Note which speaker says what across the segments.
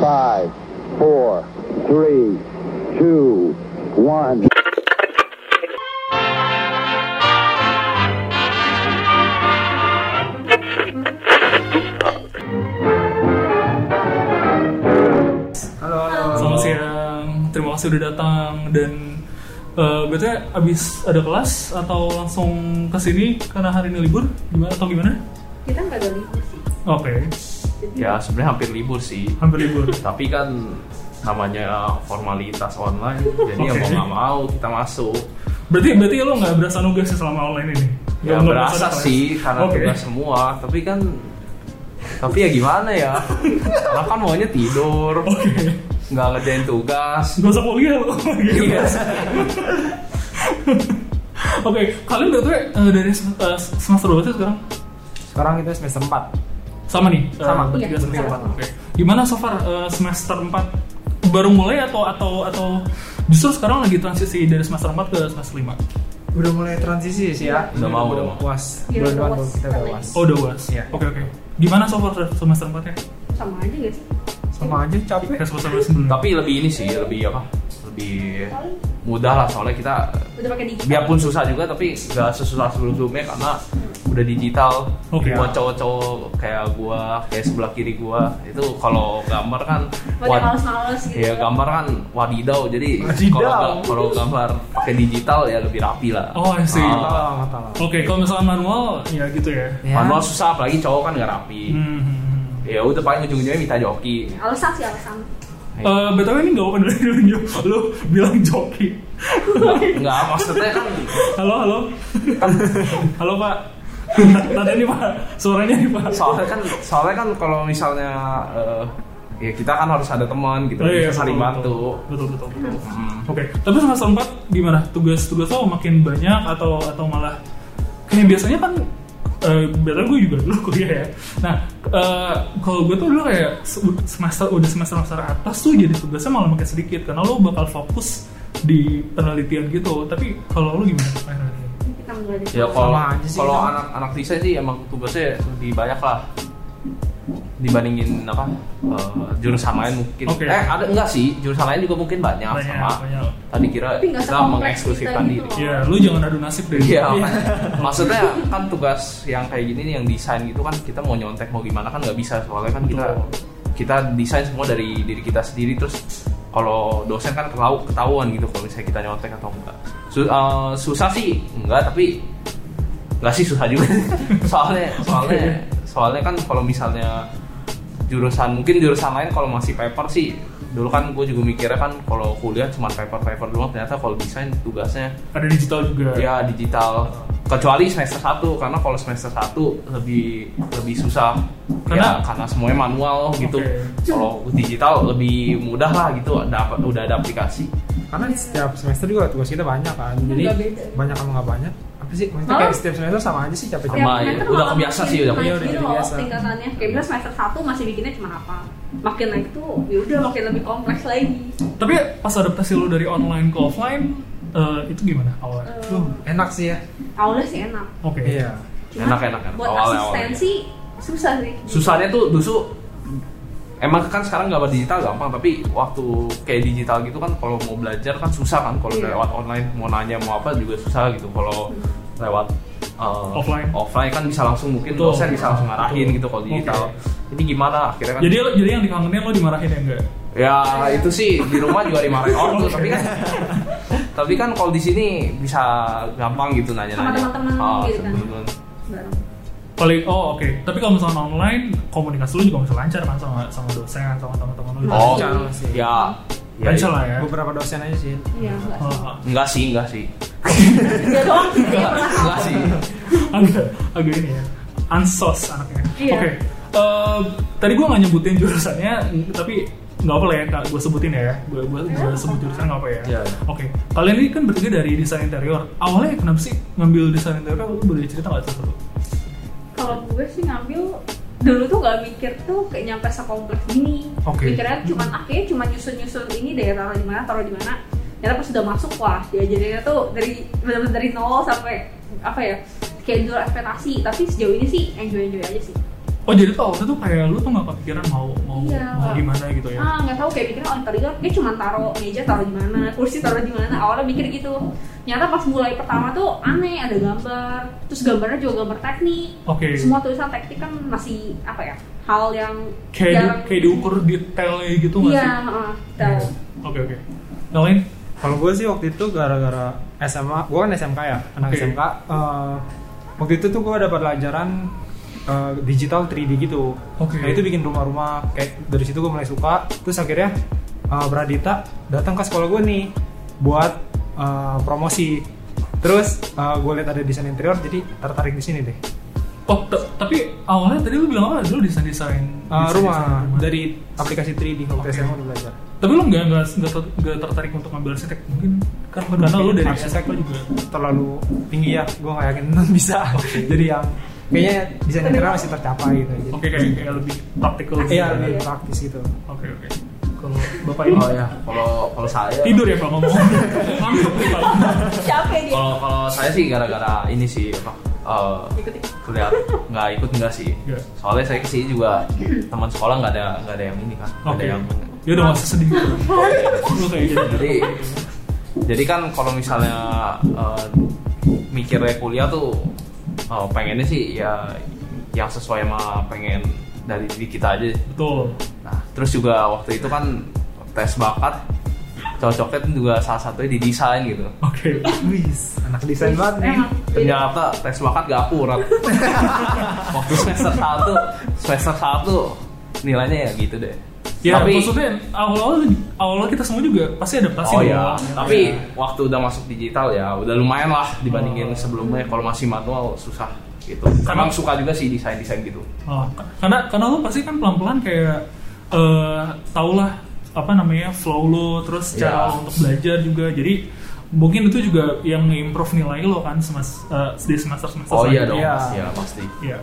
Speaker 1: Five, four, three, two, one.
Speaker 2: Halo, halo.
Speaker 3: Selamat siang, terima kasih udah datang dan eh gue tuh abis ada kelas atau langsung ke sini karena hari ini libur gimana atau gimana?
Speaker 4: kita nggak ada libur sih
Speaker 3: Oke,
Speaker 2: Ya, sebenarnya hampir libur sih.
Speaker 3: hampir libur.
Speaker 2: Tapi kan namanya formalitas online, jadi ya
Speaker 3: Oke.
Speaker 2: mau nggak mau kita masuk.
Speaker 3: Berarti berarti lo nggak berasa nugas ya selama online ini?
Speaker 2: Ya
Speaker 3: Nggak- nggak
Speaker 2: berasa
Speaker 3: ada kelas?
Speaker 2: sih karena
Speaker 3: Oke.
Speaker 2: tugas semua, tapi kan tapi ya gimana ya? Karena kan maunya tidur,
Speaker 3: Oke,
Speaker 2: nggak ngerjain tugas.
Speaker 3: gak usah kuliah lo. Gitu.
Speaker 2: Iya.
Speaker 3: Oke, kalian udah tuh eh, dari sem- eh, semester berapa sih sekarang?
Speaker 5: Sekarang kita semester 4
Speaker 3: Sama nih? eh,
Speaker 5: Sama.
Speaker 3: bertiga
Speaker 4: Iya,
Speaker 3: semester
Speaker 4: sama.
Speaker 3: empat. Oke. Gimana so far eh, semester 4? Baru mulai atau atau atau justru sekarang lagi transisi dari semester 4 ke semester 5?
Speaker 5: Udah mulai transisi sih ya
Speaker 2: Udah mau, udah mau.
Speaker 5: Puas
Speaker 4: Iya,
Speaker 5: Bulan
Speaker 4: udah
Speaker 5: depan
Speaker 4: puas.
Speaker 5: kita udah
Speaker 4: Kali.
Speaker 5: puas
Speaker 3: Oh, udah UAS.
Speaker 5: Iya.
Speaker 3: Oke, oke. Gimana so far semester 4-nya?
Speaker 4: sama aja gak sih
Speaker 5: Sama aja capek
Speaker 2: Iya.
Speaker 3: Kayak semester sebelumnya.
Speaker 2: Tapi lebih ini sih, lebih apa? Lebih mudah lah soalnya kita
Speaker 4: udah pakai digital
Speaker 2: biarpun susah juga tapi nggak sesusah sebelumnya karena udah digital
Speaker 3: Oke.
Speaker 2: buat cowok-cowok kayak gua kayak sebelah kiri gua itu kalau gambar kan
Speaker 4: banyak males-males gitu
Speaker 2: ya gambar kan wadidau jadi
Speaker 5: Wadidau.
Speaker 2: kalau ga- kalau gambar pakai digital ya lebih rapi lah
Speaker 3: Oh, I see.
Speaker 2: Ah,
Speaker 5: Tolong, tolong
Speaker 3: Oke, kalau misalnya manual ya gitu ya.
Speaker 2: manual susah apalagi cowok kan nggak rapi
Speaker 3: Hmm.
Speaker 2: ya udah paling ujung-ujungnya minta joki
Speaker 4: alasan sih alasan
Speaker 3: Eh, btw ini nggak open dulu Lu bilang joki.
Speaker 2: nggak maksudnya kan
Speaker 3: Halo, halo. halo Pak. Tadi nih Pak, suaranya nih Pak.
Speaker 2: soalnya kan soalnya kan kalau misalnya eh, ya kita kan harus ada teman gitu
Speaker 3: Oh, iya,
Speaker 2: bisa saling
Speaker 3: betul,
Speaker 2: bantu
Speaker 3: Betul betul. betul.
Speaker 2: Hmm.
Speaker 3: Oke, tapi semester 4 gimana? Tugas-tugas lo makin banyak atau atau malah kayak biasanya kan eh biasanya gue juga dulu kuliah ya. Nah, eh kalau gue tuh dulu kayak se- semester udah semester semester atas tuh jadi tugasnya malah makin sedikit karena lo bakal fokus di penelitian gitu. Tapi kalau lo gimana? mainannya?
Speaker 4: kita nggak ada
Speaker 2: Ya kalau
Speaker 5: Sama aja sih,
Speaker 2: kalau
Speaker 5: sama.
Speaker 2: anak-anak desain sih emang tugasnya lebih banyak lah dibandingin apa eh, jurusan lain mungkin.
Speaker 3: Oke.
Speaker 2: Eh ada enggak sih jurusan lain juga mungkin banyak,
Speaker 3: Banyak,
Speaker 2: sama.
Speaker 3: banyak.
Speaker 2: Tadi kira
Speaker 4: Tapi nggak
Speaker 2: kita
Speaker 4: sekompleks
Speaker 2: mengeksklusifkan
Speaker 4: kita gitu
Speaker 2: diri.
Speaker 4: loh.
Speaker 3: Ya, lu jangan adu nasib deh.
Speaker 2: Iya, maksudnya kan tugas yang kayak gini nih yang desain gitu kan kita mau nyontek mau gimana kan nggak bisa soalnya kan kita
Speaker 3: Betul.
Speaker 2: kita desain semua dari diri kita sendiri terus kalau dosen kan ketau- ketahuan gitu kalau misalnya kita nyontek atau enggak Su- eh, susah sih enggak tapi enggak sih susah juga soalnya soalnya soalnya kan kalau misalnya jurusan mungkin jurusan lain kalau masih paper sih dulu kan gue juga mikirnya kan kalau kuliah cuma paper paper doang ternyata kalau desain tugasnya
Speaker 3: Ada digital juga.
Speaker 2: Ya digital kecuali semester 1 karena kalau semester 1 lebih lebih susah ya
Speaker 3: Karena?
Speaker 2: karena semuanya manual gitu.
Speaker 3: Oke.
Speaker 2: Kalau digital lebih mudah lah gitu ada udah ada aplikasi.
Speaker 5: Ya, Karena setiap semester juga tugas kita banyak kan Jadi
Speaker 4: Iya, Nggak beda.
Speaker 5: banyak sama nggak banyak Apa sih? Maksudnya
Speaker 4: Malah-
Speaker 5: kayak setiap semester sama aja sih capek-capek
Speaker 2: Sama, ya. Udah kebiasa sih, udah
Speaker 4: kebiasa.
Speaker 5: kebiasa. Iya,
Speaker 4: Gitu
Speaker 5: udah
Speaker 4: loh,
Speaker 5: kebiasa.
Speaker 4: tingkatannya. Kayak bilang semester 1 masih bikinnya cuma apa. Makin naik tuh, ya udah makin lebih kompleks lagi.
Speaker 3: Tapi pas adaptasi lu dari online ke offline eh, itu gimana awalnya?
Speaker 4: Eh,
Speaker 5: Duh, enak sih ya
Speaker 4: awalnya sih enak.
Speaker 3: Oke.
Speaker 5: Iya
Speaker 2: Enak, enak, enak.
Speaker 4: Buat
Speaker 2: Awalnya,
Speaker 4: asistensi susah sih.
Speaker 2: Susahnya tuh dusu emang kan sekarang gambar digital gampang tapi waktu kayak digital gitu kan kalau mau belajar kan susah kan kalau
Speaker 4: Iya.
Speaker 2: lewat online mau nanya mau apa juga susah gitu kalau lewat uh,
Speaker 3: Offline.
Speaker 2: offline kan bisa langsung mungkin
Speaker 3: Betul.
Speaker 2: dosen bisa langsung ngarahin
Speaker 3: Betul.
Speaker 2: gitu kalau digital jadi gimana akhirnya kan
Speaker 3: Jadi jadi yang dikangenin lo dimarahin ya enggak?
Speaker 2: Ya itu sih di rumah juga dimarahin orang tuh, tapi kan tapi kan kalau di sini bisa gampang gitu nanya-nanya.
Speaker 4: Sama teman-teman
Speaker 2: Ah,
Speaker 4: gitu kan.
Speaker 2: teman-teman.
Speaker 4: Bareng.
Speaker 3: Paling oh oke. Tapi kalau misalnya online komunikasi lu juga masih lancar kan sama sama dosen sama teman-teman lu.
Speaker 2: Oh,
Speaker 5: Lancar sih.
Speaker 2: ya. ya
Speaker 3: lancar lah ya.
Speaker 5: Iya. Beberapa dosen aja sih
Speaker 4: Iya, enggak.
Speaker 3: Oh, oh.
Speaker 2: Enggak sih, enggak sih.
Speaker 4: Ya doang sih, nggak pernah tahu.
Speaker 2: Enggak sih.
Speaker 3: agak agak ini ya. Ansos anaknya.
Speaker 4: Iya.
Speaker 3: Oke. Eh, tadi gue nggak nyebutin jurusannya, n- tapi nggak apa lah ya, gue sebutin ya. Gue gue gue sebut jurusan nggak apa ya.
Speaker 2: Iya.
Speaker 3: Oke. Kalian ini kan bertiga dari desain interior. Awalnya kenapa sih ngambil desain interior? Lu boleh cerita nggak tuh?
Speaker 4: Kalau gue sih ngambil dulu tuh gak mikir tuh kayak nyampe sekompleks gini
Speaker 3: Oke.
Speaker 4: mikirnya cuma akhirnya cuma nyusun-nyusun ini deh taruh di mana taruh di mana ternyata pas udah masuk wah diajarinnya tuh dari benar-benar dari nol sampai apa ya kayak jual ekspektasi tapi sejauh ini sih enjoy enjoy aja sih
Speaker 3: Oh jadi tuh awalnya tuh kayak lu tuh nggak kepikiran mau mau
Speaker 4: Iya.
Speaker 3: mau gimana gitu ya?
Speaker 4: ah nggak tahu kayak mikirnya oh interior dia cuma taruh meja taruh di mana kursi taruh di mana awalnya mikir gitu nyata pas mulai pertama tuh aneh ada gambar terus gambarnya juga gambar teknik
Speaker 3: Oke.
Speaker 4: semua tulisan teknik kan masih apa ya hal yang
Speaker 3: Kayak di,
Speaker 4: jarang-
Speaker 3: kayak diukur detailnya gitu nggak
Speaker 4: iya
Speaker 3: sih?
Speaker 4: heeh, tahu
Speaker 3: Oke oke. Yang lain?
Speaker 5: Kalau gue sih waktu itu gara-gara SMA, gue kan SMK ya, anak
Speaker 3: Oke.
Speaker 5: SMK. eh, waktu itu tuh gue dapat pelajaran eh, digital 3D gitu.
Speaker 3: Oke.
Speaker 5: Nah itu bikin rumah-rumah kayak dari situ gue mulai suka. Terus akhirnya eh, Pradita datang ke sekolah gue nih buat eh, promosi. Terus gue lihat ada desain interior, jadi tertarik di sini deh.
Speaker 3: Oh t- tapi awalnya tadi lu bilang apa? Lu desain desain
Speaker 5: Eh, rumah dari aplikasi 3D
Speaker 3: Oke.
Speaker 5: waktu SMA udah belajar.
Speaker 3: Tapi lu nggak nggak nggak ter- nggak tertarik untuk ngambil arsitek mungkin kan karena lu dari
Speaker 5: arsitek
Speaker 3: SMK juga.
Speaker 5: terlalu tinggi ya gue gak yakin bisa jadi yang kayaknya desain interior masih tercapai gitu jadi
Speaker 3: Oke kayak kayak lebih praktikal. gitu.
Speaker 5: iya lebih praktis gitu
Speaker 3: Oke oke. Kalau bapak ini
Speaker 2: Oh ya, kalau kalau saya
Speaker 3: tidur ya pak ngomong. Ngantuk nih pak.
Speaker 4: capek ya dia
Speaker 2: Kalau kalau saya sih gara-gara ini sih apa? eh,
Speaker 4: ikuti
Speaker 2: kelihatan nggak ikut nggak sih
Speaker 3: Nggak.
Speaker 2: soalnya saya kesini juga teman sekolah nggak ada nggak ada yang ini kan nggak
Speaker 3: Oke.
Speaker 2: ada yang
Speaker 3: Ya udah nggak usah sedih. gitu. Lu kayak gitu.
Speaker 2: jadi jadi kan kalau misalnya eh, mikirnya kuliah tuh eh, pengennya sih ya yang sesuai sama pengen dari diri kita aja
Speaker 3: Betul.
Speaker 2: nah terus juga waktu itu kan tes bakat cocoknya tuh juga salah satunya di desain gitu
Speaker 3: Oke.
Speaker 5: wis anak desain banget nih
Speaker 4: emang
Speaker 3: Iya.
Speaker 2: ternyata tes bakat gak akurat waktu semester 1 semester 1 nilainya ya gitu deh
Speaker 3: Ya maksudnya awal-awal awal-awal kita semua juga pasti adaptasi
Speaker 2: oh
Speaker 3: dong. Iya.
Speaker 2: ya tapi waktu udah masuk digital ya udah lumayan lah dibandingin sebelumnya kalau masih manual susah gitu
Speaker 3: Karena-
Speaker 2: emang suka juga sih desain desain gitu
Speaker 3: Oh, karena karena lu pasti kan pelan-pelan kayak eh tau lah apa namanya flow lo terus
Speaker 2: Iya.
Speaker 3: cara lo untuk belajar juga jadi mungkin itu juga yang improve nilai lo kan semas, eh, di semester semester
Speaker 2: oh iya dong
Speaker 5: Iya.
Speaker 2: pasti ya pasti
Speaker 3: Iya.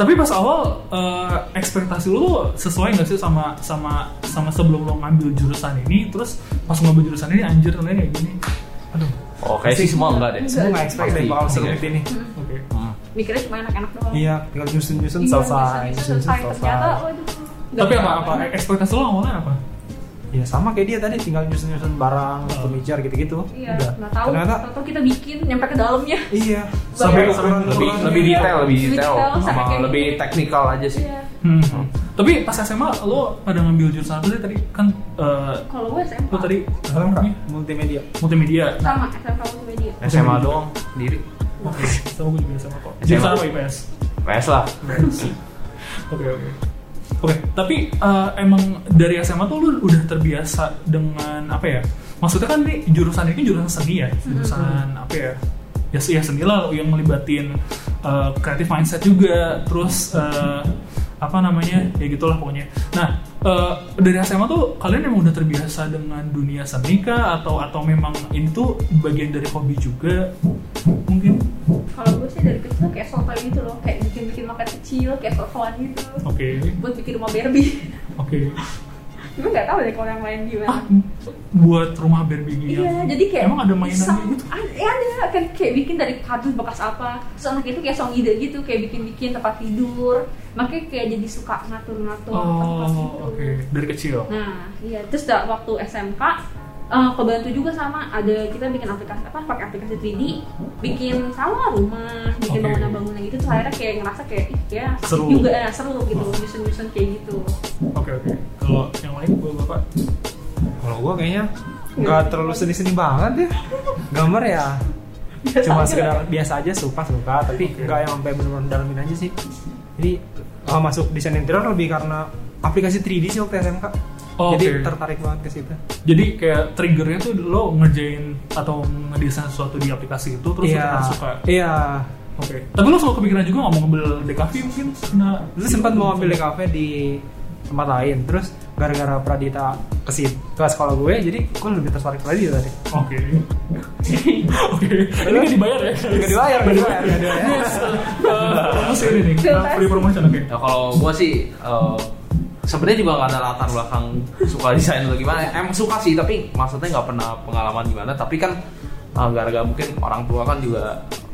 Speaker 3: Tapi pas awal eh, ekspektasi lu sesuai nggak sih sama sama sama sebelum lo ngambil jurusan ini, terus pas ngambil jurusan ini anjir ternyata kayak gini. Aduh.
Speaker 2: oh kayak sih semua enggak deh
Speaker 5: semua gak expect deh
Speaker 2: Pasti. Iya.
Speaker 5: bakal
Speaker 2: Pasti.
Speaker 5: seperti ini
Speaker 3: Oke.
Speaker 2: Hmm.
Speaker 4: mikirnya cuma enak-enak doang
Speaker 5: iya tinggal nyusun nyusun
Speaker 4: Iya,
Speaker 5: selesai
Speaker 4: bisa- bisa
Speaker 5: nyusun
Speaker 4: selesai
Speaker 5: nyusun
Speaker 4: ternyata oh,
Speaker 5: selesai
Speaker 4: waduh
Speaker 3: Tapi apa apa
Speaker 4: Gak-
Speaker 3: ekspektasi lo awalnya apa?
Speaker 5: ya sama kayak dia tadi tinggal nyusun nyusun barang
Speaker 3: Oh.
Speaker 5: furniture gitu gitu
Speaker 4: iya nggak tahu
Speaker 5: ternyata
Speaker 4: atau kita bikin nyampe ke dalamnya
Speaker 5: iya
Speaker 4: Sampai-
Speaker 2: lebih
Speaker 5: ukuran- ukuran- gitu.
Speaker 2: lebih detail lebih
Speaker 4: Lebih
Speaker 2: detail
Speaker 4: detail,
Speaker 2: sama
Speaker 4: sampai kayak
Speaker 2: lebih
Speaker 4: gitu.
Speaker 2: teknikal aja sih
Speaker 4: Iya.
Speaker 3: Hmm. Tapi pas SMA lo pada ngambil jurusan apa sih tadi kan eh,
Speaker 4: kalau gue SMA
Speaker 3: lo tadi apa
Speaker 5: Dalam nggak?
Speaker 3: namanya?
Speaker 5: multimedia
Speaker 3: multimedia. Nah,
Speaker 4: sama SMA multimedia
Speaker 2: SMA doang sendiri
Speaker 3: Oke, sama gue juga sama kok.
Speaker 2: SMA.
Speaker 3: Jurusan apa IPS?
Speaker 2: PS lah
Speaker 3: Oke oke. Oke, tapi eh, emang dari SMA tuh lu udah terbiasa dengan apa ya? Maksudnya kan nih jurusan ini jurusan seni ya, jurusan apa ya? Ya, se- ya seni lah yang melibatin eh, creative mindset juga, terus eh, apa namanya ya gitulah pokoknya. Nah eh, dari SMA tuh kalian emang udah terbiasa dengan dunia seni kah atau atau memang ini tuh bagian dari hobi juga mungkin?
Speaker 4: kalau gue sih dari kecil kayak sotoy gitu loh kayak bikin bikin makan kecil kayak sotoan gitu
Speaker 3: Oke
Speaker 4: buat bikin rumah Barbie
Speaker 3: oke.
Speaker 4: gue nggak tahu deh kalau yang lain gimana
Speaker 3: Ah, buat rumah Barbie yang-
Speaker 4: Iya, jadi kayak
Speaker 3: emang ada mainan
Speaker 4: iseng.
Speaker 3: gitu.
Speaker 4: Ad- ya ada kan kayak bikin dari kardus bekas apa. Terus anak itu kayak song ide gitu, kayak bikin-bikin tempat tidur. Makanya kayak jadi suka ngatur-ngatur
Speaker 3: Oh,
Speaker 4: tempat gitu.
Speaker 3: oke. Dari kecil.
Speaker 4: Nah, iya. Terus da- waktu SMK eh, kebantu juga sama ada kita bikin aplikasi apa pakai aplikasi 3D bikin sawah rumah
Speaker 3: Oke.
Speaker 4: bikin bangunan-bangunan gitu terus akhirnya kayak ngerasa kayak ih ya
Speaker 3: Seru.
Speaker 4: juga eh, seru gitu nyusun-nyusun kayak gitu
Speaker 3: Oke, oke. Kalau yang lain gua Bapak.
Speaker 5: kalau gua kayaknya nggak terlalu seni seni banget ya gambar ya
Speaker 4: Biasa
Speaker 5: cuma
Speaker 4: aja.
Speaker 5: sekedar biasa aja suka suka tapi
Speaker 3: Oke.
Speaker 5: nggak yang sampai benar-benar dalamin aja sih jadi uh, masuk desain interior lebih karena aplikasi 3D sih waktu SMK
Speaker 3: Oh,
Speaker 5: jadi
Speaker 3: oke.
Speaker 5: tertarik banget ke situ
Speaker 3: Jadi kayak triggernya tuh lo ngerjain atau ngedesain sesuatu di aplikasi itu terus lo ternyata suka.
Speaker 5: iya
Speaker 3: Oke. Tapi lo selalu kepikiran juga nggak mau ngambil DKV mungkin karena
Speaker 5: lu sempat mau ambil di kafe di tempat lain terus gara-gara Pradita kesin ke sekolah gue jadi gue lebih tertarik Pradita tadi
Speaker 3: Oke. Oke. Ini nggak dibayar ya?
Speaker 5: Nggak dibayar, nggak dibayar, nggak dibayar.
Speaker 3: Yes. Eh, Promosi ini nih.
Speaker 4: Terima
Speaker 3: Free promotion oke.
Speaker 2: Ya kalau gua sih eh, sebenarnya juga nggak ada latar belakang suka desain atau gimana. Emang suka sih tapi maksudnya nggak pernah pengalaman gimana. Tapi kan eh, gara-gara mungkin orang tua kan juga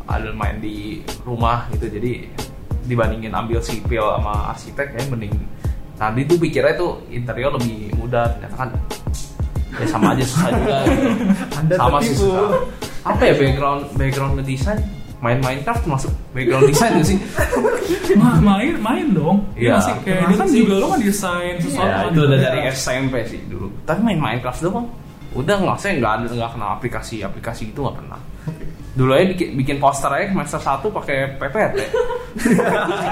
Speaker 2: ada main di rumah gitu jadi dibandingin ambil sipil sama arsitek ya mending Sandi tuh pikirnya tuh interior lebih mudah ternyata kan ya sama aja susah juga gitu.
Speaker 5: Anda
Speaker 2: sama sih
Speaker 5: tertipu.
Speaker 2: susah apa ya background background desain main Minecraft masuk background desain gak sih
Speaker 3: Ma- main main dong
Speaker 2: Iya.
Speaker 3: masih kayak dia kan
Speaker 5: Masih.
Speaker 3: juga lo kan desain sesuatu
Speaker 2: ya,
Speaker 3: kan.
Speaker 2: itu udah dari SMP sih dulu tapi main Minecraft doang udah nggak saya nggak ada nggak kenal aplikasi aplikasi itu nggak pernah dulu aja bikin, bikin poster aja semester satu pakai PPT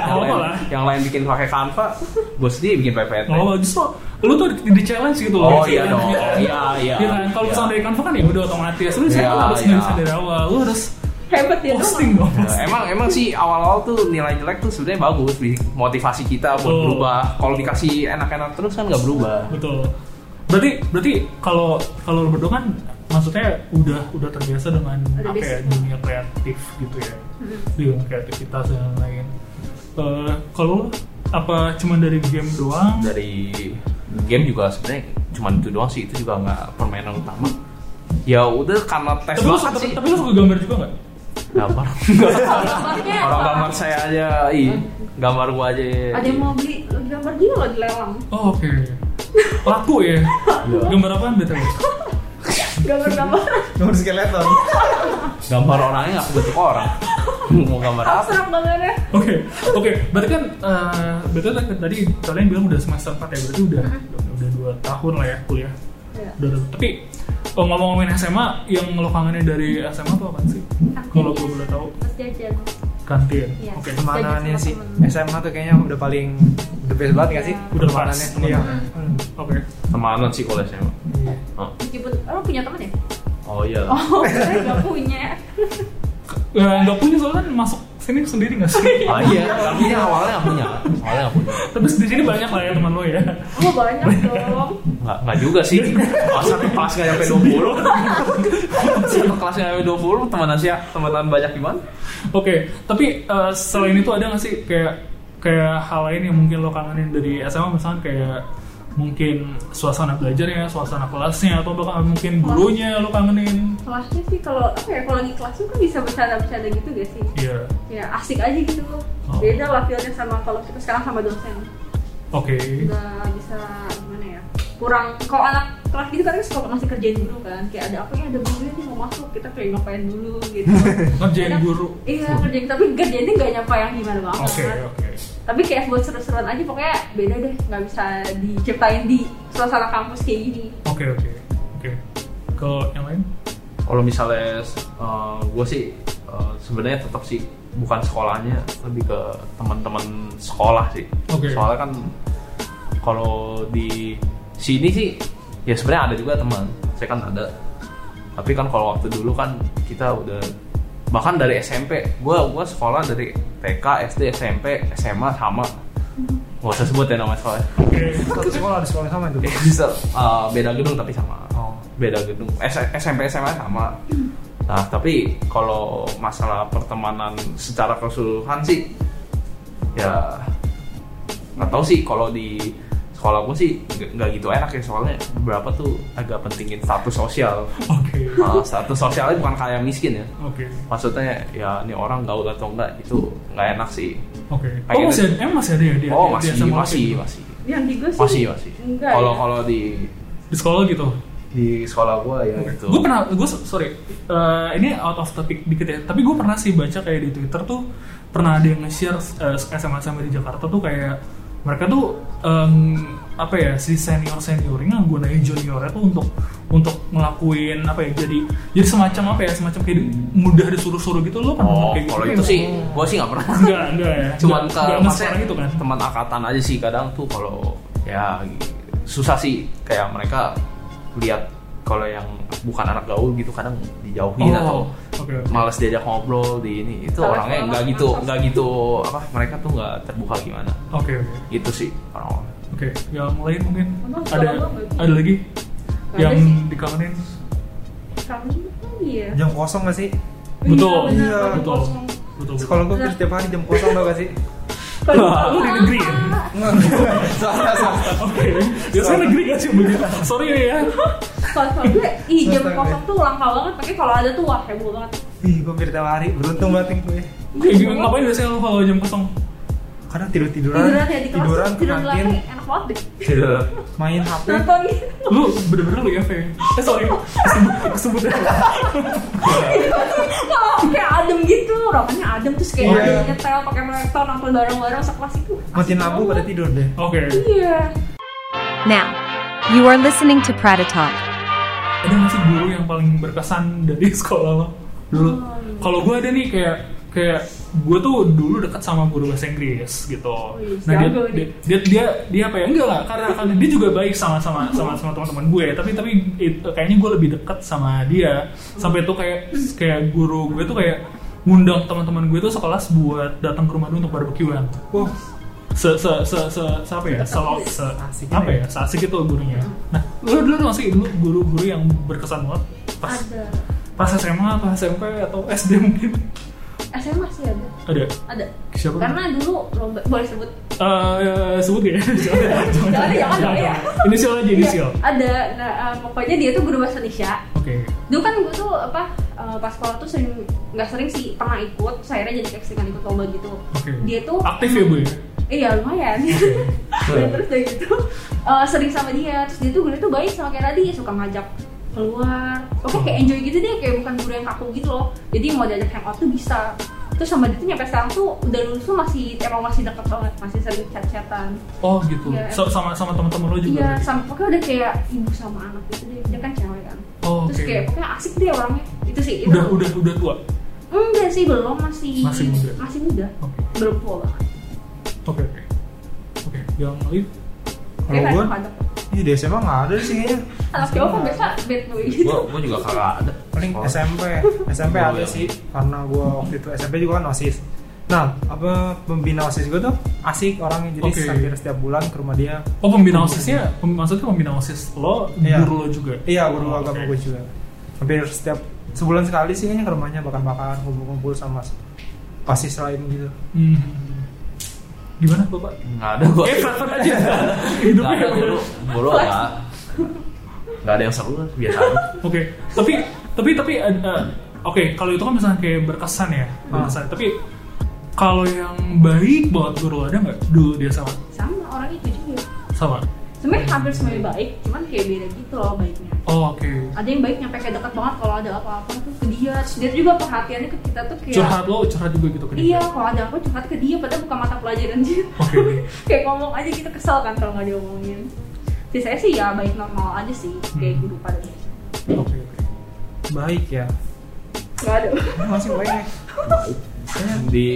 Speaker 2: yang, lain,
Speaker 3: lah.
Speaker 2: yang lain bikin pakai Canva gue sendiri bikin PPT
Speaker 3: Oh, justru lu tuh di, di challenge gitu.
Speaker 2: Oh,
Speaker 3: Biasanya
Speaker 2: iya
Speaker 3: kan,
Speaker 2: dong.
Speaker 3: kan?
Speaker 2: Iya, iya.
Speaker 3: Iya kan? Kalau
Speaker 2: Iya.
Speaker 3: misalnya dari Canva kan ya udah otomatis. Lu
Speaker 2: Iya,
Speaker 3: saya harus
Speaker 2: iya.
Speaker 3: nulis dari awal. Lu harus
Speaker 4: hebat ya dong
Speaker 3: posting dong.
Speaker 2: Ya, emang emang sih awal-awal tuh nilai jelek tuh sebenarnya bagus bi- motivasi kita buat
Speaker 3: Oh.
Speaker 2: berubah kalau dikasih enak-enak terus kan nggak berubah
Speaker 3: Betul. Berarti berarti kalau kalau lu berdua kan maksudnya udah udah terbiasa dengan
Speaker 4: Udah
Speaker 3: apa ya
Speaker 4: basic. Mm-hmm.
Speaker 3: dunia kreatif gitu ya. Dunia kreativitas dan lain-lain. Eh, kalau lu, apa cuman dari game doang?
Speaker 2: dari game juga sebenarnya cuma itu doang sih itu juga nggak permainan utama ya udah karena tes
Speaker 3: Tapi lu,
Speaker 2: banget
Speaker 3: tapi,
Speaker 2: sih
Speaker 3: tapi lu suka gambar juga nggak?
Speaker 2: gambar
Speaker 4: Maksudnya
Speaker 2: orang
Speaker 4: apa?
Speaker 2: gambar saya aja ih gambar gua aja
Speaker 4: ada yang mau beli gambar dia loh di lelang
Speaker 3: Oh, oke. Laku ya.
Speaker 2: Iya.
Speaker 3: Gambar apaan betul?
Speaker 4: gambar-gambar
Speaker 5: nomor skeleton
Speaker 2: gambar orangnya nggak kebentuk orang mau gambar apa
Speaker 4: abstrak banget ya
Speaker 3: Oke, oke. Berarti kan, eh, berarti kan tadi kalian bilang udah semester 4 ya, berarti udah udah dua tahun lah ya kuliah.
Speaker 4: Iya.
Speaker 3: Udah, udah. Tapi oh, ngomong-ngomongin SMA, yang lo kangenin dari SMA tuh apa sih? Kalau gue boleh tahu,
Speaker 4: Mas jajan
Speaker 3: kantin.
Speaker 4: Iya.
Speaker 3: Oke.
Speaker 5: temanannya sih
Speaker 4: Teman.
Speaker 5: SMA tuh kayaknya udah paling the best banget gak sih
Speaker 3: Udah pas.
Speaker 5: Pertemanannya, teman-teman. Hmm.
Speaker 3: Oke.
Speaker 2: temanan sih kalau SMA
Speaker 5: Iya.
Speaker 2: oh,
Speaker 4: meskipun oh punya teman ya
Speaker 2: oh iya
Speaker 4: oh saya nggak punya
Speaker 3: Eh, Nggak punya soalnya kan masuk sini sendiri nggak sih?
Speaker 2: Ah, iya, tapi awalnya nggak punya, awalnya nggak punya,
Speaker 3: Terus di sini banyak lah ya teman lo ya.
Speaker 4: oh banyak dong
Speaker 2: nggak nggak juga sih. Kelas satu kelas nggak sampai dua puluh, satu kelas nggak sampai dua puluh, temenan sih, temenan banyak gimana?
Speaker 3: Oke, tapi eh, selain itu ada nggak sih kayak kayak hal lain yang mungkin lo kangenin dari SMA misalkan kayak mungkin suasana belajarnya, suasana kelasnya atau bahkan mungkin gurunya lo kangenin?
Speaker 4: kelasnya sih kalau apa ya kalau lagi kelas tuh kan bisa bercanda-bercanda gitu gak sih
Speaker 3: Iya.
Speaker 4: ya asik aja gitu kok
Speaker 3: Oh.
Speaker 4: beda lah feelnya sama kalau kita sekarang sama dosen
Speaker 3: Oke.
Speaker 4: nggak bisa gimana ya kurang kalau anak kelas gitu kan suka masih kerjain dulu kan kayak ada apa ya ada gurunya nih mau masuk kita kayak ngapain dulu gitu
Speaker 3: Ngerjain
Speaker 4: Kadang-
Speaker 3: Kan guru.
Speaker 4: iya kerjain tapi kerjainnya nggak nyapa yang gimana banget kan?
Speaker 3: Oke, oke.
Speaker 4: tapi kayak buat seru-seruan aja pokoknya beda deh nggak bisa diciptain di suasana kampus kayak gini
Speaker 3: Oke, oke. Oke. Ke yang lain?
Speaker 2: kalau misalnya gue sih eh, sebenarnya tetap sih bukan sekolahnya lebih ke teman-teman sekolah sih
Speaker 3: Oke.
Speaker 2: soalnya kan kalau di sini sih ya sebenarnya ada juga teman saya kan ada tapi kan kalau waktu dulu kan kita udah bahkan dari SMP gue gua sekolah dari TK SD SMP SMA sama nggak usah sebut ya nama sekolah
Speaker 3: Oke.
Speaker 5: satu sekolah ada sekolah sama itu
Speaker 2: bisa eh, beda gedung tapi sama
Speaker 5: oh
Speaker 2: beda gedung S- SMP SMA sama nah tapi kalau masalah pertemanan secara keseluruhan sih ya nggak tahu sih kalau di sekolah gue sih nggak- nggak gitu enak ya soalnya berapa tuh agak pentingin status sosial
Speaker 3: Oke.
Speaker 2: Nah, status sosialnya bukan kayak miskin ya
Speaker 3: Oke.
Speaker 2: maksudnya ya ini orang gaul atau enggak itu nggak enak sih
Speaker 3: Oke. Oh,
Speaker 2: Pengen-
Speaker 3: masih ada, emang masih ada ya dia?
Speaker 2: oh
Speaker 3: dia-
Speaker 2: masih
Speaker 3: dia sama
Speaker 2: masih
Speaker 3: waktu itu?
Speaker 2: masih
Speaker 4: yang di gue sih
Speaker 2: masih masih
Speaker 4: enggak
Speaker 2: kalau
Speaker 4: ya.
Speaker 2: kalau di
Speaker 3: Di sekolah gitu.
Speaker 2: di sekolah gue ya gitu
Speaker 3: Gue pernah, gue sorry, eh, ini out of topic dikit ya. Tapi gue pernah sih baca kayak di Twitter tuh pernah ada yang nge-share eh, SMA SMA di Jakarta tuh kayak mereka tuh em, apa ya si senior seniornya gunain juniornya tuh untuk untuk ngelakuin apa ya jadi jadi semacam apa ya semacam kayak di- mudah disuruh-suruh gitu lo pernah
Speaker 2: Oh,
Speaker 3: kayak gitu
Speaker 2: kalau
Speaker 3: kayak
Speaker 2: itu
Speaker 3: gitu?
Speaker 2: sih, gue sih nggak pernah.
Speaker 3: enggak enggak ya
Speaker 2: Cuman ke
Speaker 3: Enggak- enggak sama
Speaker 2: maksudnya
Speaker 3: sekarang gitu kan
Speaker 2: teman angkatan aja sih kadang tuh kalau ya susah sih kayak mereka lihat kalau yang bukan anak gaul gitu kadang dijauhin
Speaker 3: Oh,
Speaker 2: atau
Speaker 3: oke
Speaker 2: malas diajak ngobrol di ini itu
Speaker 4: Salah
Speaker 2: orangnya
Speaker 4: sekolah,
Speaker 2: nggak gitu
Speaker 4: masa
Speaker 2: nggak
Speaker 4: sih?
Speaker 2: gitu apa mereka tuh nggak terbuka gimana
Speaker 3: oke oke
Speaker 2: itu sih orang-orang
Speaker 3: oke yang lain mungkin
Speaker 4: Emang
Speaker 3: ada
Speaker 4: sekolah lo nggak?
Speaker 3: ada lagi
Speaker 4: Nggak ada
Speaker 3: yang
Speaker 4: sih.
Speaker 3: dikangenin
Speaker 4: kamu kan iya
Speaker 5: jam kosong gak sih
Speaker 3: Betul.
Speaker 4: Bener,
Speaker 5: Iya,
Speaker 4: bener,
Speaker 3: betul.
Speaker 4: kosong.
Speaker 3: Betul.
Speaker 5: sekolah gue tuh setiap hari jam kosong tau gak sih
Speaker 4: Kalau
Speaker 3: Wah, lu di negeri ya?
Speaker 5: Salah, salah.
Speaker 3: Oke. Ya saya negeri gak sih begitu. Sorry ya.
Speaker 4: Kalau sekolah gue, ih jam
Speaker 5: Selesai.
Speaker 4: kosong tuh langka banget. Pakai kalau ada tuh wah heboh banget. Iya,
Speaker 5: Ih, gue hampir tiap hari beruntung banget nih gue.
Speaker 3: Oke, gimana- ngapain biasanya lo kalau jam kosong?
Speaker 5: kadang tidur tiduran
Speaker 4: tiduran ya di kelas
Speaker 5: tiduran
Speaker 4: tuh, tiduran
Speaker 5: ke
Speaker 4: di lantai
Speaker 5: kantin
Speaker 4: enak banget deh
Speaker 2: Tidur.
Speaker 5: main hp
Speaker 4: nonton
Speaker 3: lu bener-bener lu ya Fe eh sorry kesebut kesebut
Speaker 4: kalau kayak adem gitu ruangannya adem terus kayak
Speaker 5: Iya.
Speaker 4: ada nyetel pakai proyektor nonton bareng-bareng sekelas itu
Speaker 5: matiin lampu pada tidur deh
Speaker 3: oke
Speaker 4: iya
Speaker 6: Now, you are listening to Prada Talk.
Speaker 3: ada nggak sih guru yang paling berkesan dari sekolah lo dulu
Speaker 5: Oh, iya.
Speaker 3: kalau gue ada nih kayak kayak gue tuh dulu dekat sama guru bahasa Inggris gitu
Speaker 5: Oh, iya,
Speaker 4: Wih,
Speaker 3: nah dia,
Speaker 4: jago
Speaker 3: dia
Speaker 4: nih.
Speaker 3: dia dia dia apa ya enggak lah karena karena dia juga baik sama sama sama sama teman-teman gue tapi tapi it- kayaknya gue lebih dekat sama dia sampai tuh kayak kayak guru gue tuh kayak ngundang teman-teman gue tuh sekelas buat datang ke rumah dia untuk barbekyuan
Speaker 5: wah
Speaker 3: se se se se, se apa ya se, se
Speaker 5: Asik
Speaker 3: apa
Speaker 5: gitu
Speaker 3: ya seasik itu gurunya nah lu dulu tuh masih dulu guru-guru yang berkesan banget pas
Speaker 4: ada
Speaker 3: pas SMA atau SMP atau SD mungkin
Speaker 4: SMA sih ada
Speaker 3: ada
Speaker 4: ada
Speaker 3: Siapa?
Speaker 4: karena dulu lomba boleh sebut
Speaker 3: Eh, sebut ya jangan
Speaker 4: Jangan, jangan, ya.
Speaker 3: inisial aja inisial
Speaker 4: Iya, ada nah, eh, pokoknya dia tuh guru bahasa Indonesia
Speaker 3: oke
Speaker 4: dulu kan gue tuh apa eh, pas sekolah tuh sering nggak sering sih pernah ikut terus akhirnya jadi keksikan ikut lomba gitu
Speaker 3: oke
Speaker 4: dia tuh
Speaker 3: aktif ya bu ya
Speaker 4: iya lumayan Nah, terus dari itu eh, sering sama dia terus dia tuh guru tuh baik sama kayak tadi suka ngajak keluar oke kayak enjoy gitu dia kayak bukan guru yang kaku gitu loh jadi mau diajak hangout tuh bisa terus sama dia tuh nyampe sekarang tuh udah lulus tuh masih emang masih deket banget masih sering chat-chatan
Speaker 3: oh gitu
Speaker 4: Iya.
Speaker 3: So- sama sama teman-teman lo juga
Speaker 4: iya
Speaker 3: berarti?
Speaker 4: sama pokoknya udah kayak ibu sama anak gitu deh dia kan cewek kan
Speaker 3: oh,
Speaker 4: terus
Speaker 3: oke
Speaker 4: kayak pokoknya asik deh orangnya itu sih itu
Speaker 3: udah udah udah tua
Speaker 4: enggak sih belum masih
Speaker 3: Masih muda.
Speaker 4: masih muda
Speaker 3: oke
Speaker 4: belum tua banget
Speaker 3: oke oke oke yang lain
Speaker 5: kalau
Speaker 4: Kayak
Speaker 5: gue
Speaker 4: anak-anak.
Speaker 5: iya di SMA nggak ada sih kayaknya
Speaker 4: anak cowok kan biasa bad boy gitu
Speaker 2: Gua, gua juga kagak ada.
Speaker 5: paling
Speaker 2: Sekolah.
Speaker 5: SMP SMP
Speaker 2: Gua
Speaker 5: ada
Speaker 2: yang-
Speaker 5: sih karena gue waktu itu SMP juga kan osis nah apa pembina osis gue tuh asik orangnya jadi
Speaker 3: Oke.
Speaker 5: hampir setiap bulan ke rumah dia
Speaker 3: Oh pembina osisnya, pem- maksudnya pembina osis lo
Speaker 5: Iya.
Speaker 3: guru lo juga?
Speaker 5: iya guru
Speaker 3: Oh,
Speaker 5: agama
Speaker 3: oke.
Speaker 5: gue juga hampir setiap sebulan sekali sih kayaknya ke rumahnya bakar-bakaran kumpul-kumpul sama pasis lain gitu
Speaker 3: Hmm. Gimana bapak?
Speaker 2: Nggak ada gua.
Speaker 3: Eh flat aja.
Speaker 2: Nggak
Speaker 3: Hidupnya.
Speaker 2: ada guru, guru nggak. Nggak ada yang seru lah, biasa aja.
Speaker 3: Oke, tapi tapi tapi ada. Oke, kalau itu kan misalnya kayak berkesan ya, berkesan. Tapi kalau yang baik buat guru ada nggak dulu dia sama?
Speaker 4: sama orang itu juga
Speaker 3: Sama.
Speaker 4: sebenarnya hampir semuanya baik cuman kayak beda gitu loh baiknya
Speaker 3: Oh, Oke.
Speaker 4: ada yang baik nyampe kayak deket banget kalau ada apa-apa tuh ke dia terus dia juga perhatiannya ke kita tuh kayak
Speaker 3: Curhat lo, curhat juga gitu ke dia?
Speaker 4: iya kalau ada apa curhat ke dia padahal bukan mata pelajaran dia
Speaker 3: Oke.
Speaker 4: kayak ngomong aja gitu kesel kan kalau nggak diomongin sisanya sih ya baik normal aja sih kayak
Speaker 3: Hmm.
Speaker 4: guru pada biasa
Speaker 3: Oke. oke.
Speaker 5: baik ya
Speaker 4: nggak ada
Speaker 5: Ini masih baik ya
Speaker 2: Di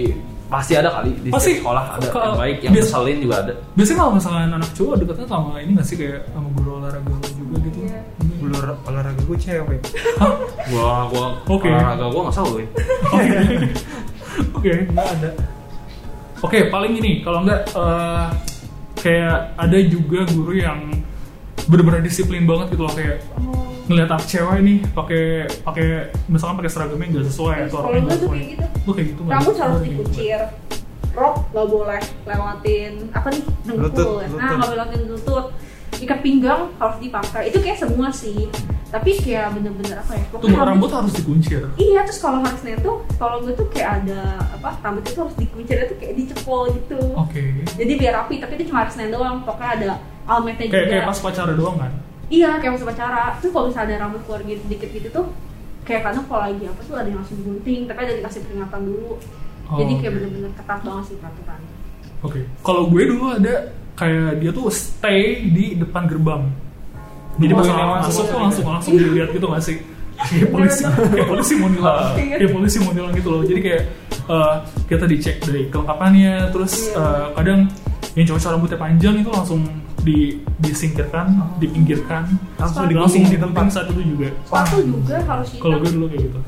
Speaker 2: pasti ada kali di
Speaker 3: Pasti.
Speaker 2: setiap sekolah ada
Speaker 3: Kalau-
Speaker 2: yang baik yang
Speaker 3: biasa-
Speaker 2: ngeselin juga ada.
Speaker 3: Biasanya kalau misalnya anak cowok deketnya sama ini nggak sih kayak sama guru olahraga lo juga gitu?
Speaker 4: Iya.
Speaker 5: Bulu olahraga gue cewek
Speaker 3: Hah?
Speaker 2: Gua gua
Speaker 3: Oke.
Speaker 2: olahraga gua nggak selalu.
Speaker 3: Oke.
Speaker 5: nggak ada
Speaker 3: Oke, paling ini kalau nggak eh, kayak ada juga guru yang bener-bener disiplin banget gitu loh kayak ngeliat anak cewek nih pakai pakai misalkan pakai seragamnya nggak sesuai atau
Speaker 4: Kalau
Speaker 3: orangnya
Speaker 4: gue
Speaker 3: nggak
Speaker 4: tuh
Speaker 3: sesuai.
Speaker 4: kayak gitu.
Speaker 3: Lu kayak gitu nggak?
Speaker 4: rambut harus
Speaker 3: Lu kayak gitu nggak?
Speaker 4: dikucir rok nggak boleh lewatin apa nih dengkul
Speaker 5: Lutut,
Speaker 4: ya?
Speaker 5: lutut.
Speaker 4: nah nggak boleh lewatin lutut ikat pinggang harus dipakai itu kayak semua sih tapi kayak bener-bener apa ya pokoknya
Speaker 3: Tuh rambut harus dikuncir.
Speaker 4: iya terus kalau harusnya tuh kalau gue tuh kayak ada apa rambutnya tuh harus dikuncir itu kayak dicepol gitu
Speaker 3: Oke.
Speaker 4: jadi biar rapi tapi itu cuma harusnya doang pokoknya ada almetnya
Speaker 3: Kayak
Speaker 4: juga
Speaker 3: kayak pas pacaran doang kan?
Speaker 4: iya kayak pas upacara terus kalau misalnya ada rambut keluar gitu dikit gitu tuh kayak kadang kalau lagi apa tuh ada yang langsung gunting tapi ada yang dikasih peringatan dulu
Speaker 3: Oh,
Speaker 4: jadi kayak
Speaker 3: oke.
Speaker 4: bener-bener ketat banget sih peraturan
Speaker 3: Oke. Kalau gue dulu ada kayak dia tuh stay di depan gerbang. Jadi
Speaker 5: Oh,
Speaker 3: pas
Speaker 5: iya,
Speaker 3: orang
Speaker 5: masuk
Speaker 3: masuk
Speaker 5: gitu.
Speaker 3: tuh langsung langsung dilihat gitu nggak sih? Kayak polisi, kayak polisi mau nilang,
Speaker 4: Iya.
Speaker 3: kayak polisi mau nilang gitu loh. Jadi kayak eh, kita dicek dari kelengkapannya, terus
Speaker 4: Iya.
Speaker 3: eh, kadang yang cowok cowok rambutnya panjang itu langsung di disingkirkan, dipinggirkan,
Speaker 5: Langsung
Speaker 3: di
Speaker 5: digunting
Speaker 3: langsung
Speaker 5: di
Speaker 3: digunting
Speaker 5: tempat.
Speaker 3: saat itu juga.
Speaker 4: sepatu juga harus hitam
Speaker 3: Kalau gue dulu kayak gitu,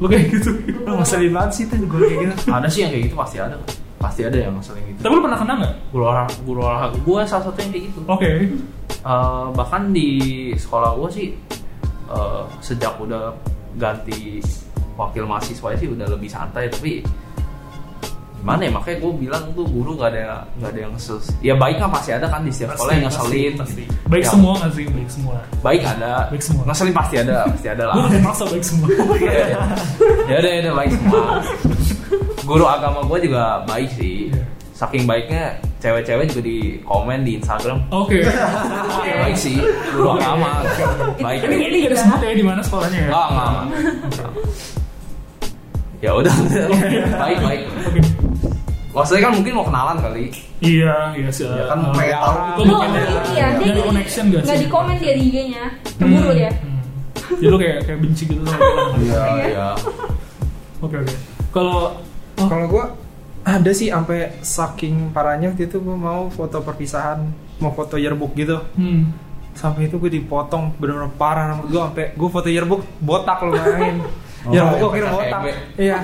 Speaker 3: lo kayak gitu.
Speaker 5: lu ngeselin banget sih tuh gue kayak gitu
Speaker 2: Ada sih yang kayak gitu pasti ada. Pasti ada yang ngeselin gitu.
Speaker 3: Tapi lo pernah kena nggak?
Speaker 2: Guru olahraga, guru olahraga gua salah satu yang kayak gitu.
Speaker 3: Oke.
Speaker 2: Eh, bahkan di sekolah gue sih eh, sejak udah ganti wakil mahasiswa sih udah lebih santai tapi gimana ya makanya gue bilang tuh guru nggak ada nggak ada yang ses ya baik kan pasti ada kan di setiap sekolah yang ngeselin
Speaker 3: pasti. Baik
Speaker 2: Ya,
Speaker 3: semua nggak sih? Baik semua.
Speaker 2: baik ada
Speaker 3: Baik semua.
Speaker 2: ngeselin pasti ada pasti ada lah
Speaker 3: Gue nggak maksa baik semua.
Speaker 2: Iya, ya udah ya udah baik semua guru agama gue juga baik sih
Speaker 3: Iya.
Speaker 2: saking baiknya cewek-cewek juga di komen di Instagram
Speaker 3: Oke.
Speaker 4: Iya.
Speaker 2: "Ah,
Speaker 3: iya.
Speaker 2: baik sih udah lama baik
Speaker 3: Ini ini gak disebut ya di mana sekolahnya ya?
Speaker 2: nggak nggak nggak. ya udah baik baik
Speaker 3: Oke.
Speaker 2: maksudnya kan mungkin mau kenalan kali
Speaker 3: Iya, iya sih.
Speaker 7: Ya kan,
Speaker 3: Eh,
Speaker 7: pengen tahu.
Speaker 3: Itu
Speaker 4: Lu
Speaker 3: mungkin ya.
Speaker 4: ini
Speaker 2: Iya.
Speaker 4: ya, dia
Speaker 3: Nyari
Speaker 4: jadi-
Speaker 3: connection gak
Speaker 4: nggak
Speaker 3: sih?
Speaker 4: di komen dia di IG-nya, keburu ya. dia.
Speaker 3: Hmm. Jadi lu kayak kayak benci gitu loh.
Speaker 7: Iya.
Speaker 2: ya
Speaker 3: Oke oke. Kalau oh,
Speaker 5: Kalau gue ada sih sampai saking parahnya waktu itu gue mau foto perpisahan, mau foto yearbook gitu.
Speaker 3: hmm.
Speaker 5: Sampai itu gue dipotong bener-bener parah rambut gue sampai gue foto yearbook botak lo bayangin.
Speaker 7: Oh,
Speaker 5: yearbook gue
Speaker 2: yang
Speaker 5: kira
Speaker 2: pecah
Speaker 5: botak.
Speaker 2: ember.
Speaker 5: Iya.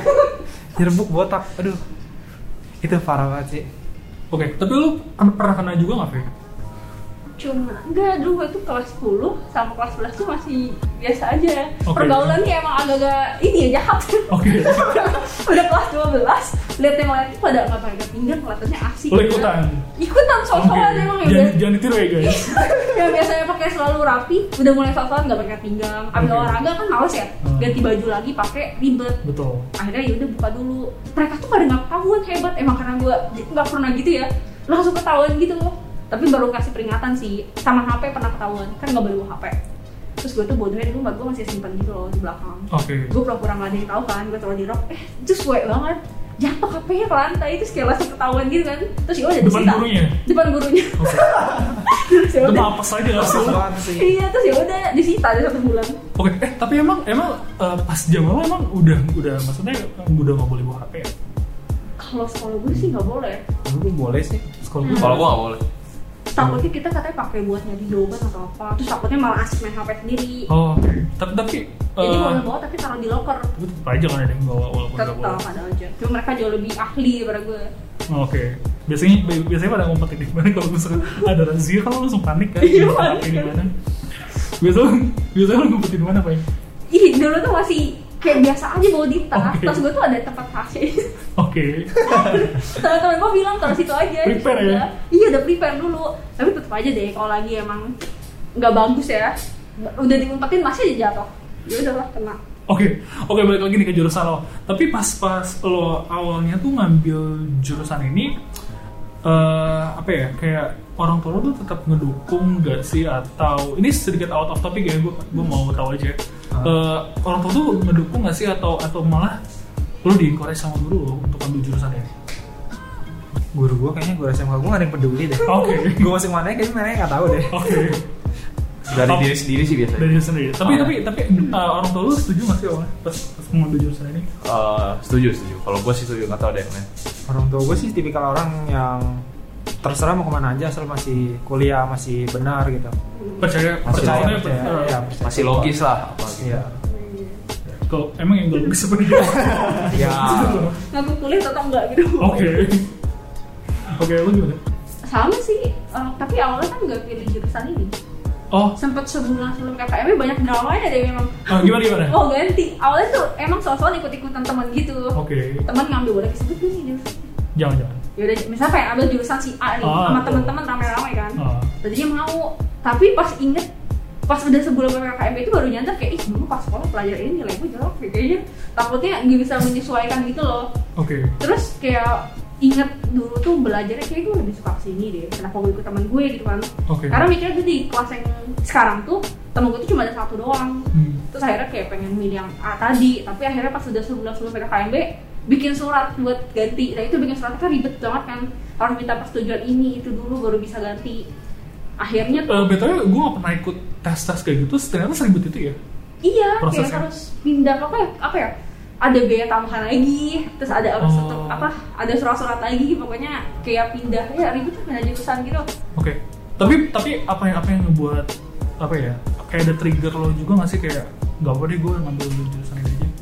Speaker 5: yearbook botak. Aduh. Itu parah banget sih.
Speaker 3: Oke, tapi lu kan pernah kena juga nggak, Fe?
Speaker 4: Cuma enggak dulu gua itu kelas 10 sama kelas 11 tuh masih biasa aja.
Speaker 3: Oke.
Speaker 4: Pergaulannya emang agak-agak ini ya jahat.
Speaker 3: Oke.
Speaker 4: Udah kelas 12, lihat yang lain tuh pada nggak pakai pinggang kelihatannya asik.
Speaker 3: Lu
Speaker 4: ya.
Speaker 3: ikutan?
Speaker 4: Ikutan sok-sokan
Speaker 3: Oke.
Speaker 4: emang
Speaker 3: Jangan,
Speaker 4: ya.
Speaker 3: jangan ditiru ya guys.
Speaker 4: yang biasanya pakai selalu rapi, udah mulai sok-sokan nggak pakai pinggang. Abis
Speaker 3: Oke.
Speaker 4: olahraga kan males ya,
Speaker 3: Hmm.
Speaker 4: ganti baju lagi pakai ribet.
Speaker 3: Betul.
Speaker 4: akhirnya ya udah buka dulu mereka tuh pada nggak ketahuan hebat emang karena gue nggak pernah gitu ya langsung ketahuan gitu loh tapi baru kasih peringatan sih sama HP pernah ketahuan kan nggak boleh bawa HP terus gue tuh bodohnya di rumah gue masih simpen gitu loh di belakang
Speaker 3: Oke.
Speaker 4: gue pura-pura nggak ada yang tahu kan gue taruh di rok eh just gue banget jatuh HP-nya ke lantai terus kayak langsung ketahuan gitu kan terus gue udah
Speaker 3: Depan
Speaker 4: disita.
Speaker 3: gurunya? ya?
Speaker 4: depan gurunya
Speaker 3: Oke.
Speaker 4: terus ya
Speaker 3: Itu
Speaker 4: udah
Speaker 3: apa saja nggak sih lu?
Speaker 5: Banget sih.
Speaker 4: iya terus ya udah disita ada satu bulan
Speaker 3: Oke, eh tapi emang emang eh, pas zaman lu emang udah udah maksudnya udah nggak boleh bawa HP ya?
Speaker 4: kalau sekolah gue sih nggak boleh
Speaker 5: Lu boleh sih.
Speaker 3: Sekolah gue.
Speaker 2: kalau gua nggak boleh
Speaker 4: takutnya kita katanya pakai buat nyari jawaban atau apa terus takutnya malah asik main HP sendiri
Speaker 3: Oh, oke. tapi tapi
Speaker 4: jadi
Speaker 3: eh,
Speaker 4: boleh bawa tapi taruh di locker
Speaker 3: tapi tetap aja kan ada yang bawa walaupun nggak
Speaker 4: tetap
Speaker 3: boleh. Oh,
Speaker 4: ada aja cuma mereka jauh lebih ahli daripada gue
Speaker 3: Oke. Biasanya bi- biasanya pada ngumpetin di mana kalau misalnya ada razia kan lu langsung panik kan?
Speaker 4: Iya,
Speaker 3: Mau
Speaker 4: panik.
Speaker 3: pakai di mana? Biasanya biasanya lu ngumpetin di mana, Pak?
Speaker 4: ih dulu tuh masih kayak biasa aja bawa di tas
Speaker 3: Oke.
Speaker 4: tas gue tuh ada tempat tasnya
Speaker 3: Oke.
Speaker 4: teman-teman gue bilang taruh situ aja di
Speaker 3: Prepare
Speaker 4: sana.
Speaker 3: ya?
Speaker 4: iya udah prepare dulu tapi tetap aja deh kalau lagi emang nggak bagus ya udah diumpetin masih aja jatuh ya udahlah kena
Speaker 3: Oke, oke balik lagi nih ke jurusan lo. Tapi pas-pas lo awalnya tuh ngambil jurusan ini, eh apa ya? Kayak orang tua lo tuh tetap ngedukung gak sih? Atau ini sedikit out of topic ya? Gue gue mau tahu aja. Eh, orang tua tuh ngedukung gak sih? Atau atau malah lo di encourage sama guru lo untuk ambil jurusan ini?
Speaker 5: Guru gue kayaknya guru SMK gue gak ada yang peduli deh.
Speaker 3: Oke,
Speaker 5: gue masih mana kayaknya neneknya gak tahu deh.
Speaker 3: oke.
Speaker 2: dari
Speaker 3: Tapi-
Speaker 2: diri sendiri sih biasanya
Speaker 3: Dari jurusan ini. Tapi
Speaker 2: Ah.
Speaker 3: tapi tapi eh, orang tua lo setuju gak sih awalnya pas, pas ngambil jurusan ini?
Speaker 2: Eh, setuju setuju kalau gua sih setuju nggak tahu deh men.
Speaker 5: orang tua gue sih tipikal orang yang terserah mau kemana aja asal masih kuliah masih benar gitu
Speaker 3: Percaya,
Speaker 5: percaya
Speaker 3: percaya,
Speaker 5: percaya,
Speaker 3: eh,
Speaker 5: ya, percaya.
Speaker 2: masih logis lah apa gitu.
Speaker 5: iya
Speaker 3: Kalau emang yang gak gitu? logis sebenarnya.
Speaker 5: ya
Speaker 4: ngaku kuliah atau enggak gitu
Speaker 3: Oke. Oke, lu gimana?
Speaker 4: sama sih eh, tapi awalnya kan nggak pilih jurusan ini
Speaker 3: Oh,
Speaker 4: sempet sebulan sebelum KKM banyak dramanya deh memang
Speaker 3: ah, gimana gimana? Oke.
Speaker 4: oh ganti awalnya tuh emang soal-soal ikut-ikutan teman gitu teman ngambil boleh disebut gak nih jurusan
Speaker 3: Jangan jangan.
Speaker 4: yaudah misalnya pengen ambil jurusan si A nih
Speaker 3: Ah,
Speaker 4: sama
Speaker 3: betul.
Speaker 4: teman-teman ramai-ramai kan
Speaker 3: Ah.
Speaker 4: tadinya mau tapi pas inget pas udah sebelum PPKM itu baru nyadar kayak ih dulu pas sekolah pelajaran ini nilai gue jelek deh kayaknya takutnya nggak bisa menyesuaikan gitu loh
Speaker 3: Oke.
Speaker 4: terus kayak inget dulu tuh belajarnya kayak gue lebih suka kesini deh kenapa gue ikut teman gue gitu kan
Speaker 3: Oke.
Speaker 4: karena mikirnya tuh di kelas yang sekarang tuh temen gue tuh cuma ada satu doang
Speaker 3: Hmm.
Speaker 4: terus akhirnya kayak pengen milih yang A tadi tapi akhirnya pas udah sebulan sebelum PPKMB bikin surat buat ganti nah itu bikin suratnya kan ribet banget kan harus minta persetujuan ini itu dulu baru bisa ganti akhirnya tuh
Speaker 3: Eh, btw, gue gak pernah ikut tes tes kayak gitu. Ternyata seribet itu ya.
Speaker 4: iya kayak
Speaker 3: prosesnya.
Speaker 4: harus pindah apa ya- apa ya ada biaya tambahan lagi terus ada
Speaker 3: Oh.
Speaker 4: harus tetep- apa ada surat-surat lagi pokoknya kayak pindah ya ribet kan pindah jurusan gitu
Speaker 3: Oke. Tapi tapi apa yang apa yang ngebuat apa ya? Kayak ada trigger lo juga gak sih kayak gak apa deh gue ngambil jurusan ini aja.
Speaker 4: Nah,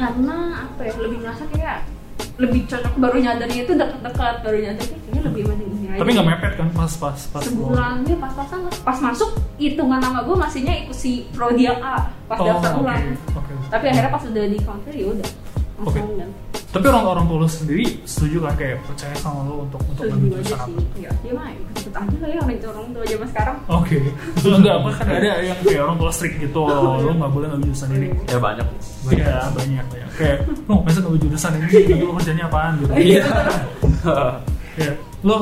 Speaker 4: karena apa ya lebih merasa kayak lebih cocok baru nyadarnya itu dekat-dekat baru nyadar kayaknya lebih mending ini aja
Speaker 3: Tapi gak mepet kan pas pas pas. lo-
Speaker 4: sebulan ya pas-pasan lah pas masuk hitungan nama gue masihnya ikut si Prodia A pas
Speaker 3: Oh,
Speaker 4: daftar
Speaker 3: oke.
Speaker 4: ulang
Speaker 3: Oke.
Speaker 4: tapi akhirnya pas udah di counter ya udah langsung dan
Speaker 3: Tapi orang orang tua lo sendiri setuju kan kayak percaya sama lo untuk untuk
Speaker 4: setuju
Speaker 3: ngambil
Speaker 4: aja
Speaker 3: jurusan apa?
Speaker 4: sih ya dia mah ikut aja lah ya orang tua orang tua zaman sekarang
Speaker 3: Oke, terus enggak apa kan ada yang kayak orang tua strict gitu, lo nggak boleh ngambil jurusan ini.
Speaker 2: ya banyak
Speaker 3: Iya "Oh,
Speaker 2: Iya.
Speaker 3: Iya. banyak banyak. Kayak, lo masa ngambil jurusan ini, gitu lo kerjanya apaan gitu.
Speaker 4: Iya.
Speaker 3: Iya. Lo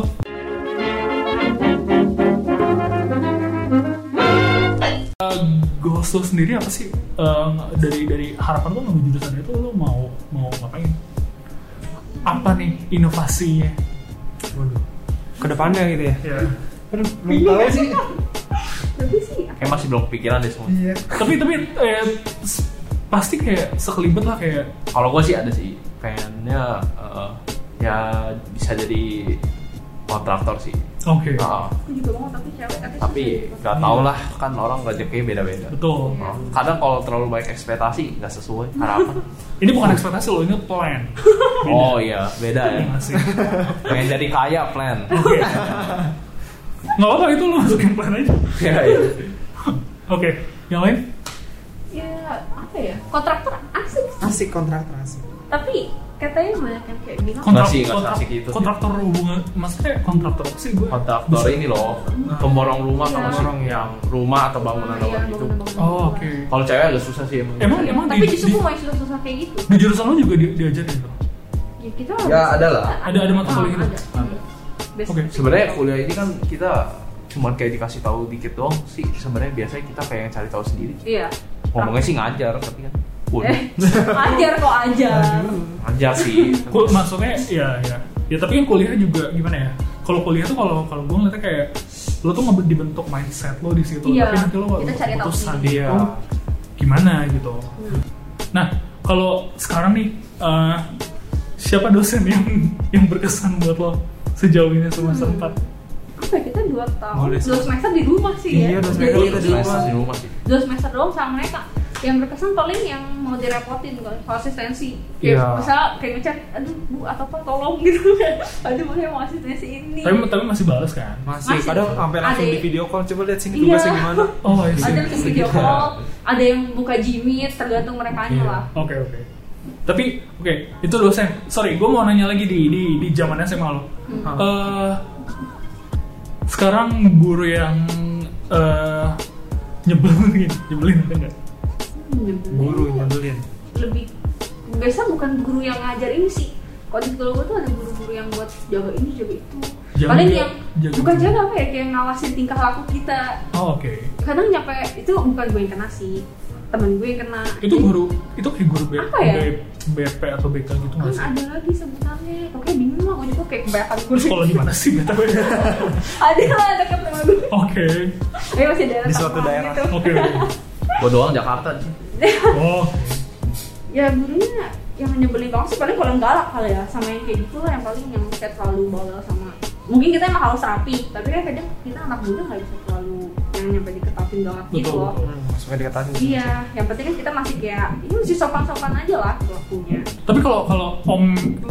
Speaker 3: Eh, goals lo sendiri apa sih Eh, dari dari harapan lo menuju jurusan itu lo mau mau ngapain? Apa nih inovasinya?
Speaker 5: Waduh. Kedepannya gitu ya.
Speaker 3: Ya.
Speaker 5: Aduh, belum tahu sih.
Speaker 4: tapi sih
Speaker 2: kayak masih belum kepikiran deh semua
Speaker 5: Iya.
Speaker 3: tapi tapi eh, s- pasti kayak sekelibet lah kayak
Speaker 2: kalau gue sih ada sih pengennya eh, ya bisa jadi kontraktor sih
Speaker 3: oke
Speaker 2: Nah,
Speaker 4: aku juga mau tapi cewek tapi
Speaker 2: tapi
Speaker 4: susah.
Speaker 2: nggak tau lah kan orang rezekinya beda-beda
Speaker 3: betul
Speaker 2: Nah, kadang kalau terlalu banyak ekspektasi nggak sesuai harapan
Speaker 3: ini bukan ekspektasi lo ini plan
Speaker 2: oh iya beda ya
Speaker 3: masih
Speaker 2: pengen jadi kaya plan
Speaker 3: nggak apa itu lo masukin plan aja oke
Speaker 2: Iya, iya.
Speaker 3: yang lain
Speaker 4: ya apa ya kontraktor asik sih.
Speaker 5: Asik kontrak asik.
Speaker 4: tapi katanya banyak yang kayak bilang
Speaker 2: Nggak sih, nggak
Speaker 3: kontrak,
Speaker 2: asik gitu sih.
Speaker 3: kontraktor hubungan maksudnya kontraktor apa sih gue
Speaker 2: kontraktor ini loh pemborong rumah sama
Speaker 4: Iya.
Speaker 2: orang yang rumah atau bangunan
Speaker 4: Iya,
Speaker 2: bangunan gitu
Speaker 4: bangunan-bangunan
Speaker 3: oh oke
Speaker 4: gitu
Speaker 2: kalau cewek agak susah sih emang
Speaker 3: Emang-
Speaker 4: lah.
Speaker 3: emang
Speaker 4: tapi
Speaker 3: di-
Speaker 4: justru
Speaker 3: di-
Speaker 4: gue masih susah kayak gitu
Speaker 3: di jurusan lo juga di, diajarin lo
Speaker 4: ya kita Ah,
Speaker 2: Ya, ada lah.
Speaker 3: Ada- ada mata kuliah gitu.
Speaker 4: ada
Speaker 2: Ada.
Speaker 4: Best.
Speaker 3: Oke.
Speaker 2: sebenarnya kuliah ini kan kita cuman kayak dikasih tahu dikit doang sih sebenarnya biasanya kita pengen cari tahu sendiri
Speaker 4: iya
Speaker 2: ngomongnya sih ngajar tapi kan waduh
Speaker 4: eh, ajar kok ajar
Speaker 2: ngajar sih
Speaker 3: Kul maksudnya ya ya ya tapi kan kuliah juga gimana ya kalau kuliah tuh kalau kalau gue ngeliatnya kayak lo tuh nggak dibentuk mindset lo di situ
Speaker 4: Iya,
Speaker 3: tapi nanti lo
Speaker 4: kita cari tahu
Speaker 3: keputusan
Speaker 4: sendiri. Hmm.
Speaker 5: Iya.
Speaker 3: itu gimana gitu nah kalau sekarang nih eh, siapa dosen yang yang berkesan buat lo sejauh ini semester
Speaker 4: Hmm.
Speaker 3: 4
Speaker 4: apa ya, kita dua tahun
Speaker 5: Boleh sih.
Speaker 4: dua semester di rumah sih ya
Speaker 5: Iya, dua
Speaker 2: Gue
Speaker 5: semester
Speaker 4: Jadi,
Speaker 5: kita
Speaker 2: terus
Speaker 5: di rumah.
Speaker 2: les di rumah sih
Speaker 4: dua semester doang sama mereka yang berkesan paling yang mau direpotin kan konsistensi kayak
Speaker 5: Iya.
Speaker 4: misalnya kayak ngechat aduh bu atau apa tolong gitu aduh bu saya mau asistensi ini
Speaker 3: tapi tapi masih balas kan
Speaker 5: Masih,
Speaker 4: Masih.
Speaker 5: kadang sampai langsung
Speaker 4: Ada-
Speaker 5: di video call coba lihat sini
Speaker 4: Iya.
Speaker 5: tugasnya gimana.
Speaker 3: oh I see.
Speaker 4: ada yang video call ada yang buka Jimit tergantung mereka
Speaker 5: Iya.
Speaker 4: lah
Speaker 3: Oke oke. Tapi oke itu dosen. Sorry, gue mau nanya lagi di di di zaman SMA lo.
Speaker 5: Hmm.
Speaker 3: Eh, sekarang guru yang eh, nyebelin, gitu, nyebelin ada nggak?
Speaker 5: Guru yang ngandelin.
Speaker 4: lebih biasa bukan guru yang ngajar ini sih kalau di sekolah gue tuh ada guru-guru yang buat jaga ini jaga itu
Speaker 3: Jaga-
Speaker 4: paling yang
Speaker 3: jaga-
Speaker 4: bukan jaga apa ya kayak ngawasin tingkah laku kita
Speaker 3: Oh oke.
Speaker 4: kadang nyampe itu bukan gue yang kena sih temen gue yang kena
Speaker 3: Itu
Speaker 4: Jadi,
Speaker 3: guru itu kayak guru B,
Speaker 4: Apa ya?
Speaker 3: B- BP atau BK gitu
Speaker 4: kan
Speaker 3: nggak sih?
Speaker 4: ada lagi sebutannya oke bingung lah gue juga kayak kebanyakan
Speaker 3: Lu
Speaker 4: guru
Speaker 3: sekolah di mana sih? BTW?
Speaker 4: ada lah ada kan temen gue
Speaker 3: Oke
Speaker 4: eh masih daerah
Speaker 5: Di suatu
Speaker 4: Tangerang
Speaker 5: daerah.
Speaker 4: gitu.
Speaker 3: oke.
Speaker 2: gue doang Jakarta sih
Speaker 3: Oh
Speaker 4: ya gurunya yang nyebelin banget sih paling kalau yang galak kali ya sama yang kayak gitu lah yang paling yang kayak terlalu bawel sama mungkin kita emang harus rapi tapi kan kadang kita anak muda nggak bisa terlalu yang nyampe diketapin banget gitu
Speaker 3: betul
Speaker 4: loh
Speaker 3: betul.
Speaker 5: Hmm, Masuknya dikatain.
Speaker 4: iya yang penting kan kita masih kayak ini masih sopan-sopan aja lah pelakunya
Speaker 3: Tapi kalau kalau om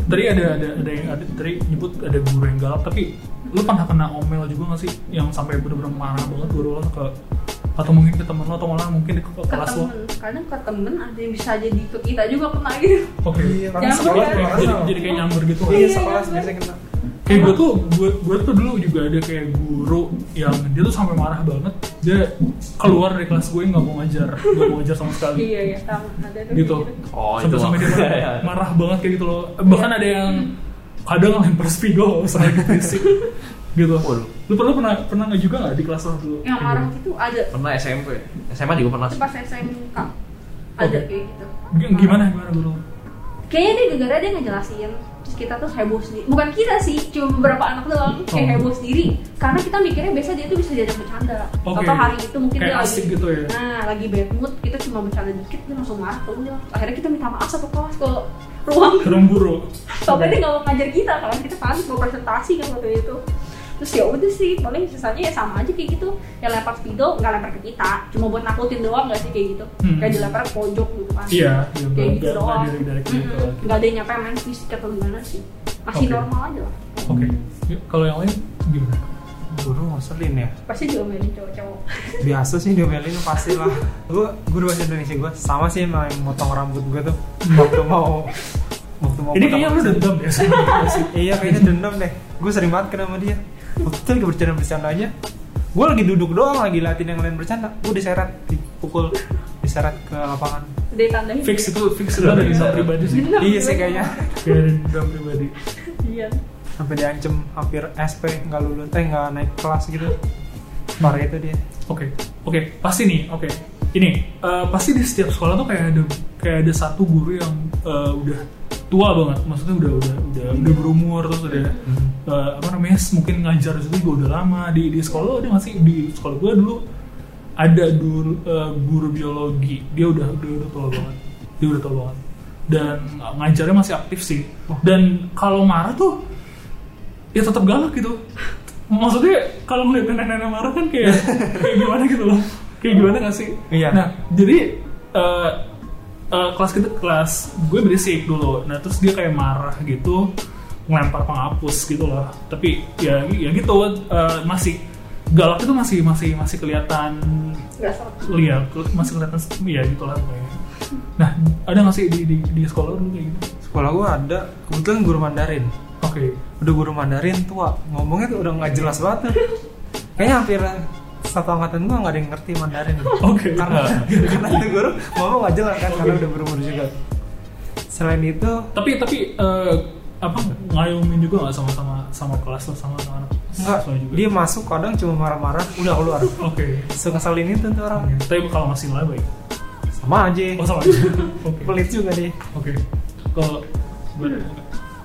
Speaker 3: tadi ada ada ada yang ada, tadi nyebut ada guru yang galak, tapi lu pernah kena omel juga gak sih yang sampai bener-bener marah banget guru lo ke atau mungkin ke temen lo atau malah mungkin ke
Speaker 4: ke
Speaker 3: kelas lo.
Speaker 4: temen kadang ke temen ada yang bisa jadi ke kita juga kena gitu
Speaker 3: Oke.
Speaker 5: Iya,
Speaker 4: Jangan
Speaker 5: karena
Speaker 4: ya.
Speaker 5: sekolah
Speaker 4: sampai-
Speaker 5: kayak
Speaker 3: Kayak-
Speaker 5: gitu.
Speaker 3: Jadi, jadi kayak nyamber gitu kan.
Speaker 5: Iya,
Speaker 4: Iya,
Speaker 5: sekolah
Speaker 4: iya.
Speaker 5: biasanya kena.
Speaker 3: Kayak gue tuh gue gue tuh dulu juga ada kayak guru yang dia tuh sampai marah banget dia keluar dari kelas gue nggak mau ngajar nggak mau ngajar sama sekali.
Speaker 4: iya ya sama ada tuh
Speaker 3: gitu.
Speaker 2: Oh, itu
Speaker 3: sampai
Speaker 2: mah.
Speaker 3: sampai dia marah, marah banget kayak gitu loh. Bahkan
Speaker 4: Iya.
Speaker 3: ada yang kadang lempar spidol sama gitu sih. gitu.
Speaker 2: Waduh.
Speaker 3: Lu pernah pernah pernah nggak juga nggak di kelas lo dulu?
Speaker 4: yang marah gitu ada
Speaker 2: pernah SMP SMA juga pernah
Speaker 4: Itu
Speaker 2: sih
Speaker 4: pas SMK ada
Speaker 3: Oke.
Speaker 4: kayak gitu
Speaker 3: G- Gimana gimana dulu?
Speaker 4: kayaknya dia gara-gara dia ngejelasin terus kita tuh heboh sendiri bukan kita sih cuma beberapa anak doang kayak
Speaker 3: Oh.
Speaker 4: heboh sendiri karena kita mikirnya biasa dia tuh bisa diajak bercanda
Speaker 3: Oke.
Speaker 4: atau hari itu mungkin
Speaker 3: Kayak
Speaker 4: dia
Speaker 3: asik
Speaker 4: lagi
Speaker 3: gitu ya?
Speaker 4: nah lagi bad mood kita cuma bercanda dikit dia langsung marah tuh udah akhirnya kita minta maaf satu kelas ke ruang
Speaker 3: Kerem buru.
Speaker 4: soalnya dia nggak mau ngajar kita kan kita pasti mau presentasi kan waktu itu terus ya udah sih paling sisanya ya sama aja kayak gitu yang lempar spidol nggak lempar ke kita cuma buat nakutin doang nggak sih kayak gitu
Speaker 3: Hmm.
Speaker 4: kayak dilempar ke pojok gitu kan
Speaker 3: Iya, iya,
Speaker 4: kayak
Speaker 3: nggak-
Speaker 4: gitu
Speaker 3: nggak-
Speaker 4: doang
Speaker 3: nggak direct gitu.
Speaker 4: Mm-mm. nggak ada yang nyampe main fisik atau gimana sih masih
Speaker 3: Oke.
Speaker 4: normal aja lah
Speaker 3: Oke. Ya, Kalau yang lain gimana?
Speaker 5: Guru ngeselin ya.
Speaker 4: pasti juga mainin cowok-cowok
Speaker 5: biasa sih diomelin pasti lah gue guru bahasa Indonesia gue sama sih emang yang motong rambut gue tuh waktu mau waktu mau
Speaker 3: Ini
Speaker 5: potong
Speaker 3: kayaknya lu
Speaker 5: rambut.
Speaker 3: dendam ya sama dia sih.
Speaker 5: iya kayaknya dendam deh gue sering banget kena sama dia waktu itu lagi bercanda bercanda aja gue lagi duduk doang lagi latihan yang lain bercanda gue diseret dipukul diseret ke lapangan
Speaker 4: udah ditandain
Speaker 3: Fix itu fix itu ada dendam pribadi sih.
Speaker 4: Dendam
Speaker 5: iya
Speaker 4: pribadi.
Speaker 5: sih kayaknya
Speaker 3: Kayak ada dendam pribadi.
Speaker 4: iya
Speaker 5: sampai diancem hampir SP nggak lulus eh nggak naik kelas gitu parah itu dia
Speaker 3: Oke, oke, pasti nih, oke. Ini eh, pasti di setiap sekolah tuh kayak ada kayak ada satu guru yang eh, udah tua banget, maksudnya udah udah udah udah berumur terus udah eh, apa namanya mungkin ngajar itu juga udah lama di di sekolah lo ada nggak sih di sekolah gue dulu ada guru, eh, guru biologi dia udah udah udah tua banget dia udah tua banget dan eh, ngajarnya masih aktif sih dan kalau marah tuh ya tetap galak gitu maksudnya kalau ngeliat nenek-nenek marah kan kayak kayak gimana gitu loh kayak gimana gak sih
Speaker 5: Iya.
Speaker 3: nah jadi eh, eh, kelas kita kelas gue berisik dulu nah terus dia kayak marah gitu ngelempar penghapus gitu loh tapi ya ya gitu eh, masih galak itu masih masih masih kelihatan
Speaker 4: nggak serem
Speaker 3: Iya, ke- masih kelihatan se- ya gitu lah pokoknya. Nah, ada nggak sih di, di, di sekolah dulu kayak gitu?
Speaker 5: sekolah gua ada kebetulan guru Mandarin
Speaker 3: Oke.
Speaker 5: udah guru Mandarin tua ngomongnya tuh udah nggak jelas banget tuh. kayaknya hampir satu angkatan gua nggak ada yang ngerti Mandarin
Speaker 3: Oke. Nah.
Speaker 5: karena karena itu guru ngomong nggak jelas kan karena udah berumur juga selain itu
Speaker 3: Tapi tapi eh, apa ngayomin juga nggak sama sama sama kelas lo sama sama anak
Speaker 5: enggak
Speaker 3: siswa juga?
Speaker 5: dia masuk kadang cuma marah-marah udah keluar
Speaker 3: Oke.
Speaker 5: Iya. sengeselin itu tuh orang
Speaker 3: Tapi kalau masih lebay.
Speaker 5: sama aja
Speaker 3: Oh sama. aja. Oke.
Speaker 5: pelit juga deh
Speaker 3: Oke. Kalau gimana?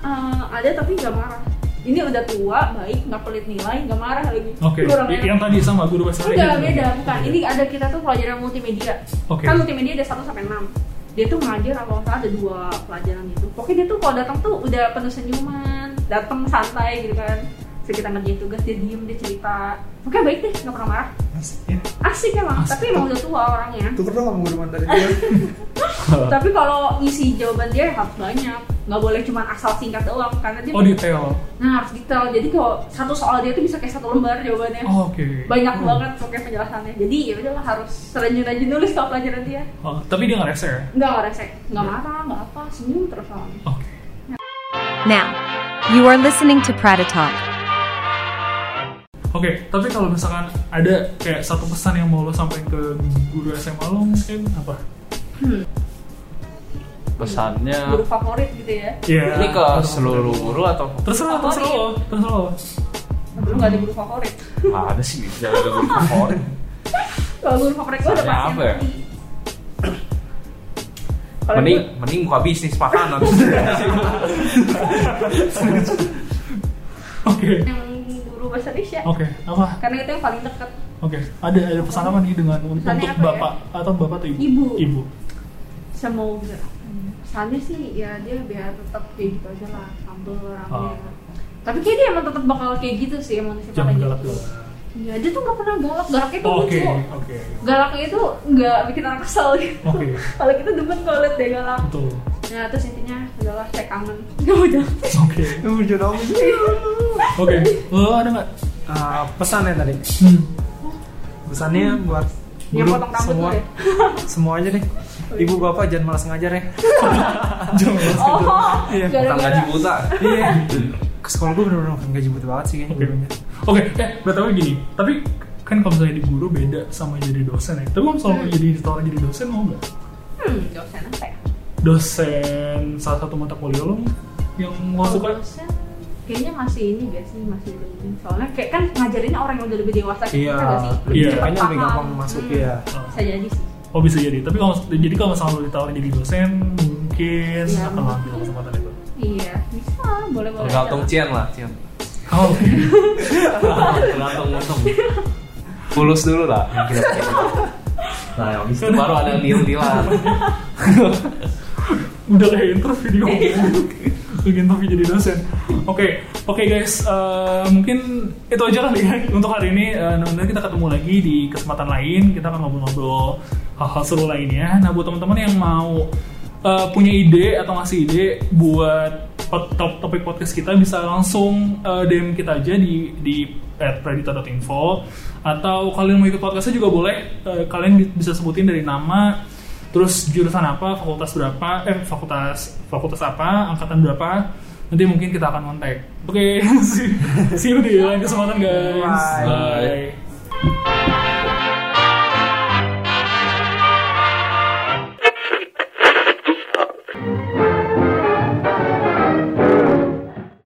Speaker 4: Eh, ada tapi nggak marah ini udah tua baik nggak pelit nilai nggak marah lagi
Speaker 3: Oke.
Speaker 4: kurang
Speaker 3: Y-
Speaker 4: enak.
Speaker 3: Yang tadi sama guru bahasa Inggris
Speaker 4: Enggak,
Speaker 3: juga?
Speaker 4: beda, bukan. Ini ada kita tuh pelajaran multimedia.
Speaker 3: Oke.
Speaker 4: Kan multimedia ada 1 sampai 6. Dia tuh ngajar kalau nggak salah ada dua pelajaran gitu. Pokoknya dia tuh kalau datang tuh udah penuh senyuman, datang santai gitu kan. Terus kita ngerjain tugas, dia diem, dia cerita. Pokoknya baik deh, nggak pernah marah.
Speaker 5: ya
Speaker 4: Asik emang,
Speaker 3: Asik.
Speaker 4: tapi emang udah tua orangnya.
Speaker 5: tuker dong sama guru Mandarin dia
Speaker 4: tapi kalau ngisi jawaban dia harus banyak. Nggak boleh cuma asal singkat doang, karena dia...
Speaker 3: Oh detail.
Speaker 4: Nah, harus detail. Jadi kalau satu soal dia tuh bisa kayak satu lembar jawabannya.
Speaker 3: Oh, Oke.
Speaker 4: Eh, banyak
Speaker 3: Oh.
Speaker 4: banget pakai penjelasannya jadi ya udahlah harus rajin-rajin nulis kalau pelajaran dia
Speaker 3: Oh, tapi dia nggak rese ya?
Speaker 4: nggak nggak rese nggak marah nggak apa senyum terus sama
Speaker 3: Oke.
Speaker 6: Now, you are listening to Prada Talk.
Speaker 3: Oke, tapi kalau misalkan ada kayak satu pesan yang mau lo sampaikan ke guru SMA lo mungkin apa?
Speaker 2: pesannya
Speaker 4: guru favorit gitu ya
Speaker 3: Iya.
Speaker 2: ini ke seluruh guru atau
Speaker 3: Terserah, terserah lo, terserah lo.
Speaker 4: dulu nggak ada guru favorit
Speaker 2: Ah, ada sih bisa ada guru favorit
Speaker 4: kalau guru favorit gue udah
Speaker 2: Saatnya
Speaker 4: pasti
Speaker 2: apa
Speaker 4: yang
Speaker 2: ya?
Speaker 4: tadi. Kalau
Speaker 2: mending
Speaker 4: gua-
Speaker 2: mending buka bisnis makanan Iya.
Speaker 3: Oke,
Speaker 4: yang guru bahasa Indonesia
Speaker 3: oke, apa?
Speaker 4: karena itu yang paling dekat
Speaker 3: Oke, ada ada pesan apa nih dengan untuk
Speaker 4: Pesannya apa ya?
Speaker 3: bapak atau bapak atau ibu?
Speaker 4: Ibu.
Speaker 3: Ibu.
Speaker 4: semoga hmm, pesannya sih ya dia biar tetap kayak gitu aja lah humble orangnya
Speaker 3: Oh.
Speaker 4: tapi kayak dia emang tetap bakal kayak gitu sih emang
Speaker 3: Jangan
Speaker 4: sifatnya
Speaker 3: galak
Speaker 4: gitu.
Speaker 3: galak.
Speaker 4: Iya, dia tuh nggak pernah galak galaknya tuh
Speaker 3: Oke,
Speaker 4: lucu
Speaker 3: oke,
Speaker 4: galaknya itu nggak bikin orang kesel gitu.
Speaker 5: Oh.
Speaker 3: Oke.
Speaker 4: Kalau kita demen kalau liat dia galak.
Speaker 3: betul.
Speaker 4: Nah terus intinya udahlah saya kangen. Ya udah.
Speaker 3: Oke,
Speaker 5: lucu dong
Speaker 3: oke. Lo ada nggak?
Speaker 5: Ah, pesannya tadi
Speaker 3: Hmm.
Speaker 5: pesannya buat
Speaker 4: Yang
Speaker 5: guru
Speaker 4: potong rambut
Speaker 5: semua
Speaker 4: dulu ya.
Speaker 5: semua aja deh ibu bapak jangan malas ngajar ya
Speaker 3: Jangan galak.
Speaker 4: Oh,
Speaker 5: Iya,
Speaker 4: gara-gara.
Speaker 2: tangga gaji buta
Speaker 5: iya ke sekolah gue bener-bener makan gaji buta banget sih kayaknya
Speaker 3: Oke,
Speaker 5: gurunya
Speaker 3: oke. Eh, btw gini, tapi kan kalau misalnya di guru beda sama jadi dosen ya. Tapi kalau misalnya lo jadi seorang jadi dosen mau nggak?
Speaker 4: Hmm, dosen apa ya?
Speaker 3: dosen salah satu mata kuliah lo yang lo
Speaker 5: Oh,
Speaker 4: Kalau
Speaker 3: suka
Speaker 4: dosen kayaknya masih ini gak sih masih belum. Soalnya kayak kan ngajarinnya orang yang udah lebih dewasa kayak
Speaker 5: iya
Speaker 4: kita nggak sih?
Speaker 5: lebih
Speaker 3: Iya.
Speaker 5: kayaknya lebih
Speaker 4: Paham.
Speaker 5: gampang masuk
Speaker 4: Hmm.
Speaker 5: ya
Speaker 4: Bisa jadi sih.
Speaker 3: oh bisa jadi tapi kalau jadi kalau misalnya lo ditawarin jadi dosen mungkin
Speaker 4: Iya,
Speaker 3: akan lo ambil
Speaker 4: mungkin.
Speaker 3: kesempatan itu
Speaker 4: Iya, bisa, boleh-boleh.
Speaker 2: tergantung
Speaker 4: aja.
Speaker 2: cian lah cian
Speaker 3: oh
Speaker 2: tergantung untung mulus dulu lah yang kita pakai. nah yang itu baru ada deal dealan
Speaker 3: udah kayak interview di Lagi interview jadi dosen oke oke guys eh, mungkin itu aja kali ya untuk hari ini Eh, mudah-mudahan kita ketemu lagi di kesempatan lain kita akan ngobrol-ngobrol hal-hal seru lainnya nah buat teman-teman yang mau eh, punya ide atau ngasih ide buat pot- top topik podcast kita bisa langsung eh, DM kita aja di di at predita.info atau kalian mau ikut podcastnya juga boleh Eh, kalian bi- bisa sebutin dari nama terus jurusan apa, fakultas berapa, eh fakultas fakultas apa, angkatan berapa, nanti mungkin kita akan kontak. Oke, see see you di lain kesempatan guys.
Speaker 5: Bye.
Speaker 3: Bye.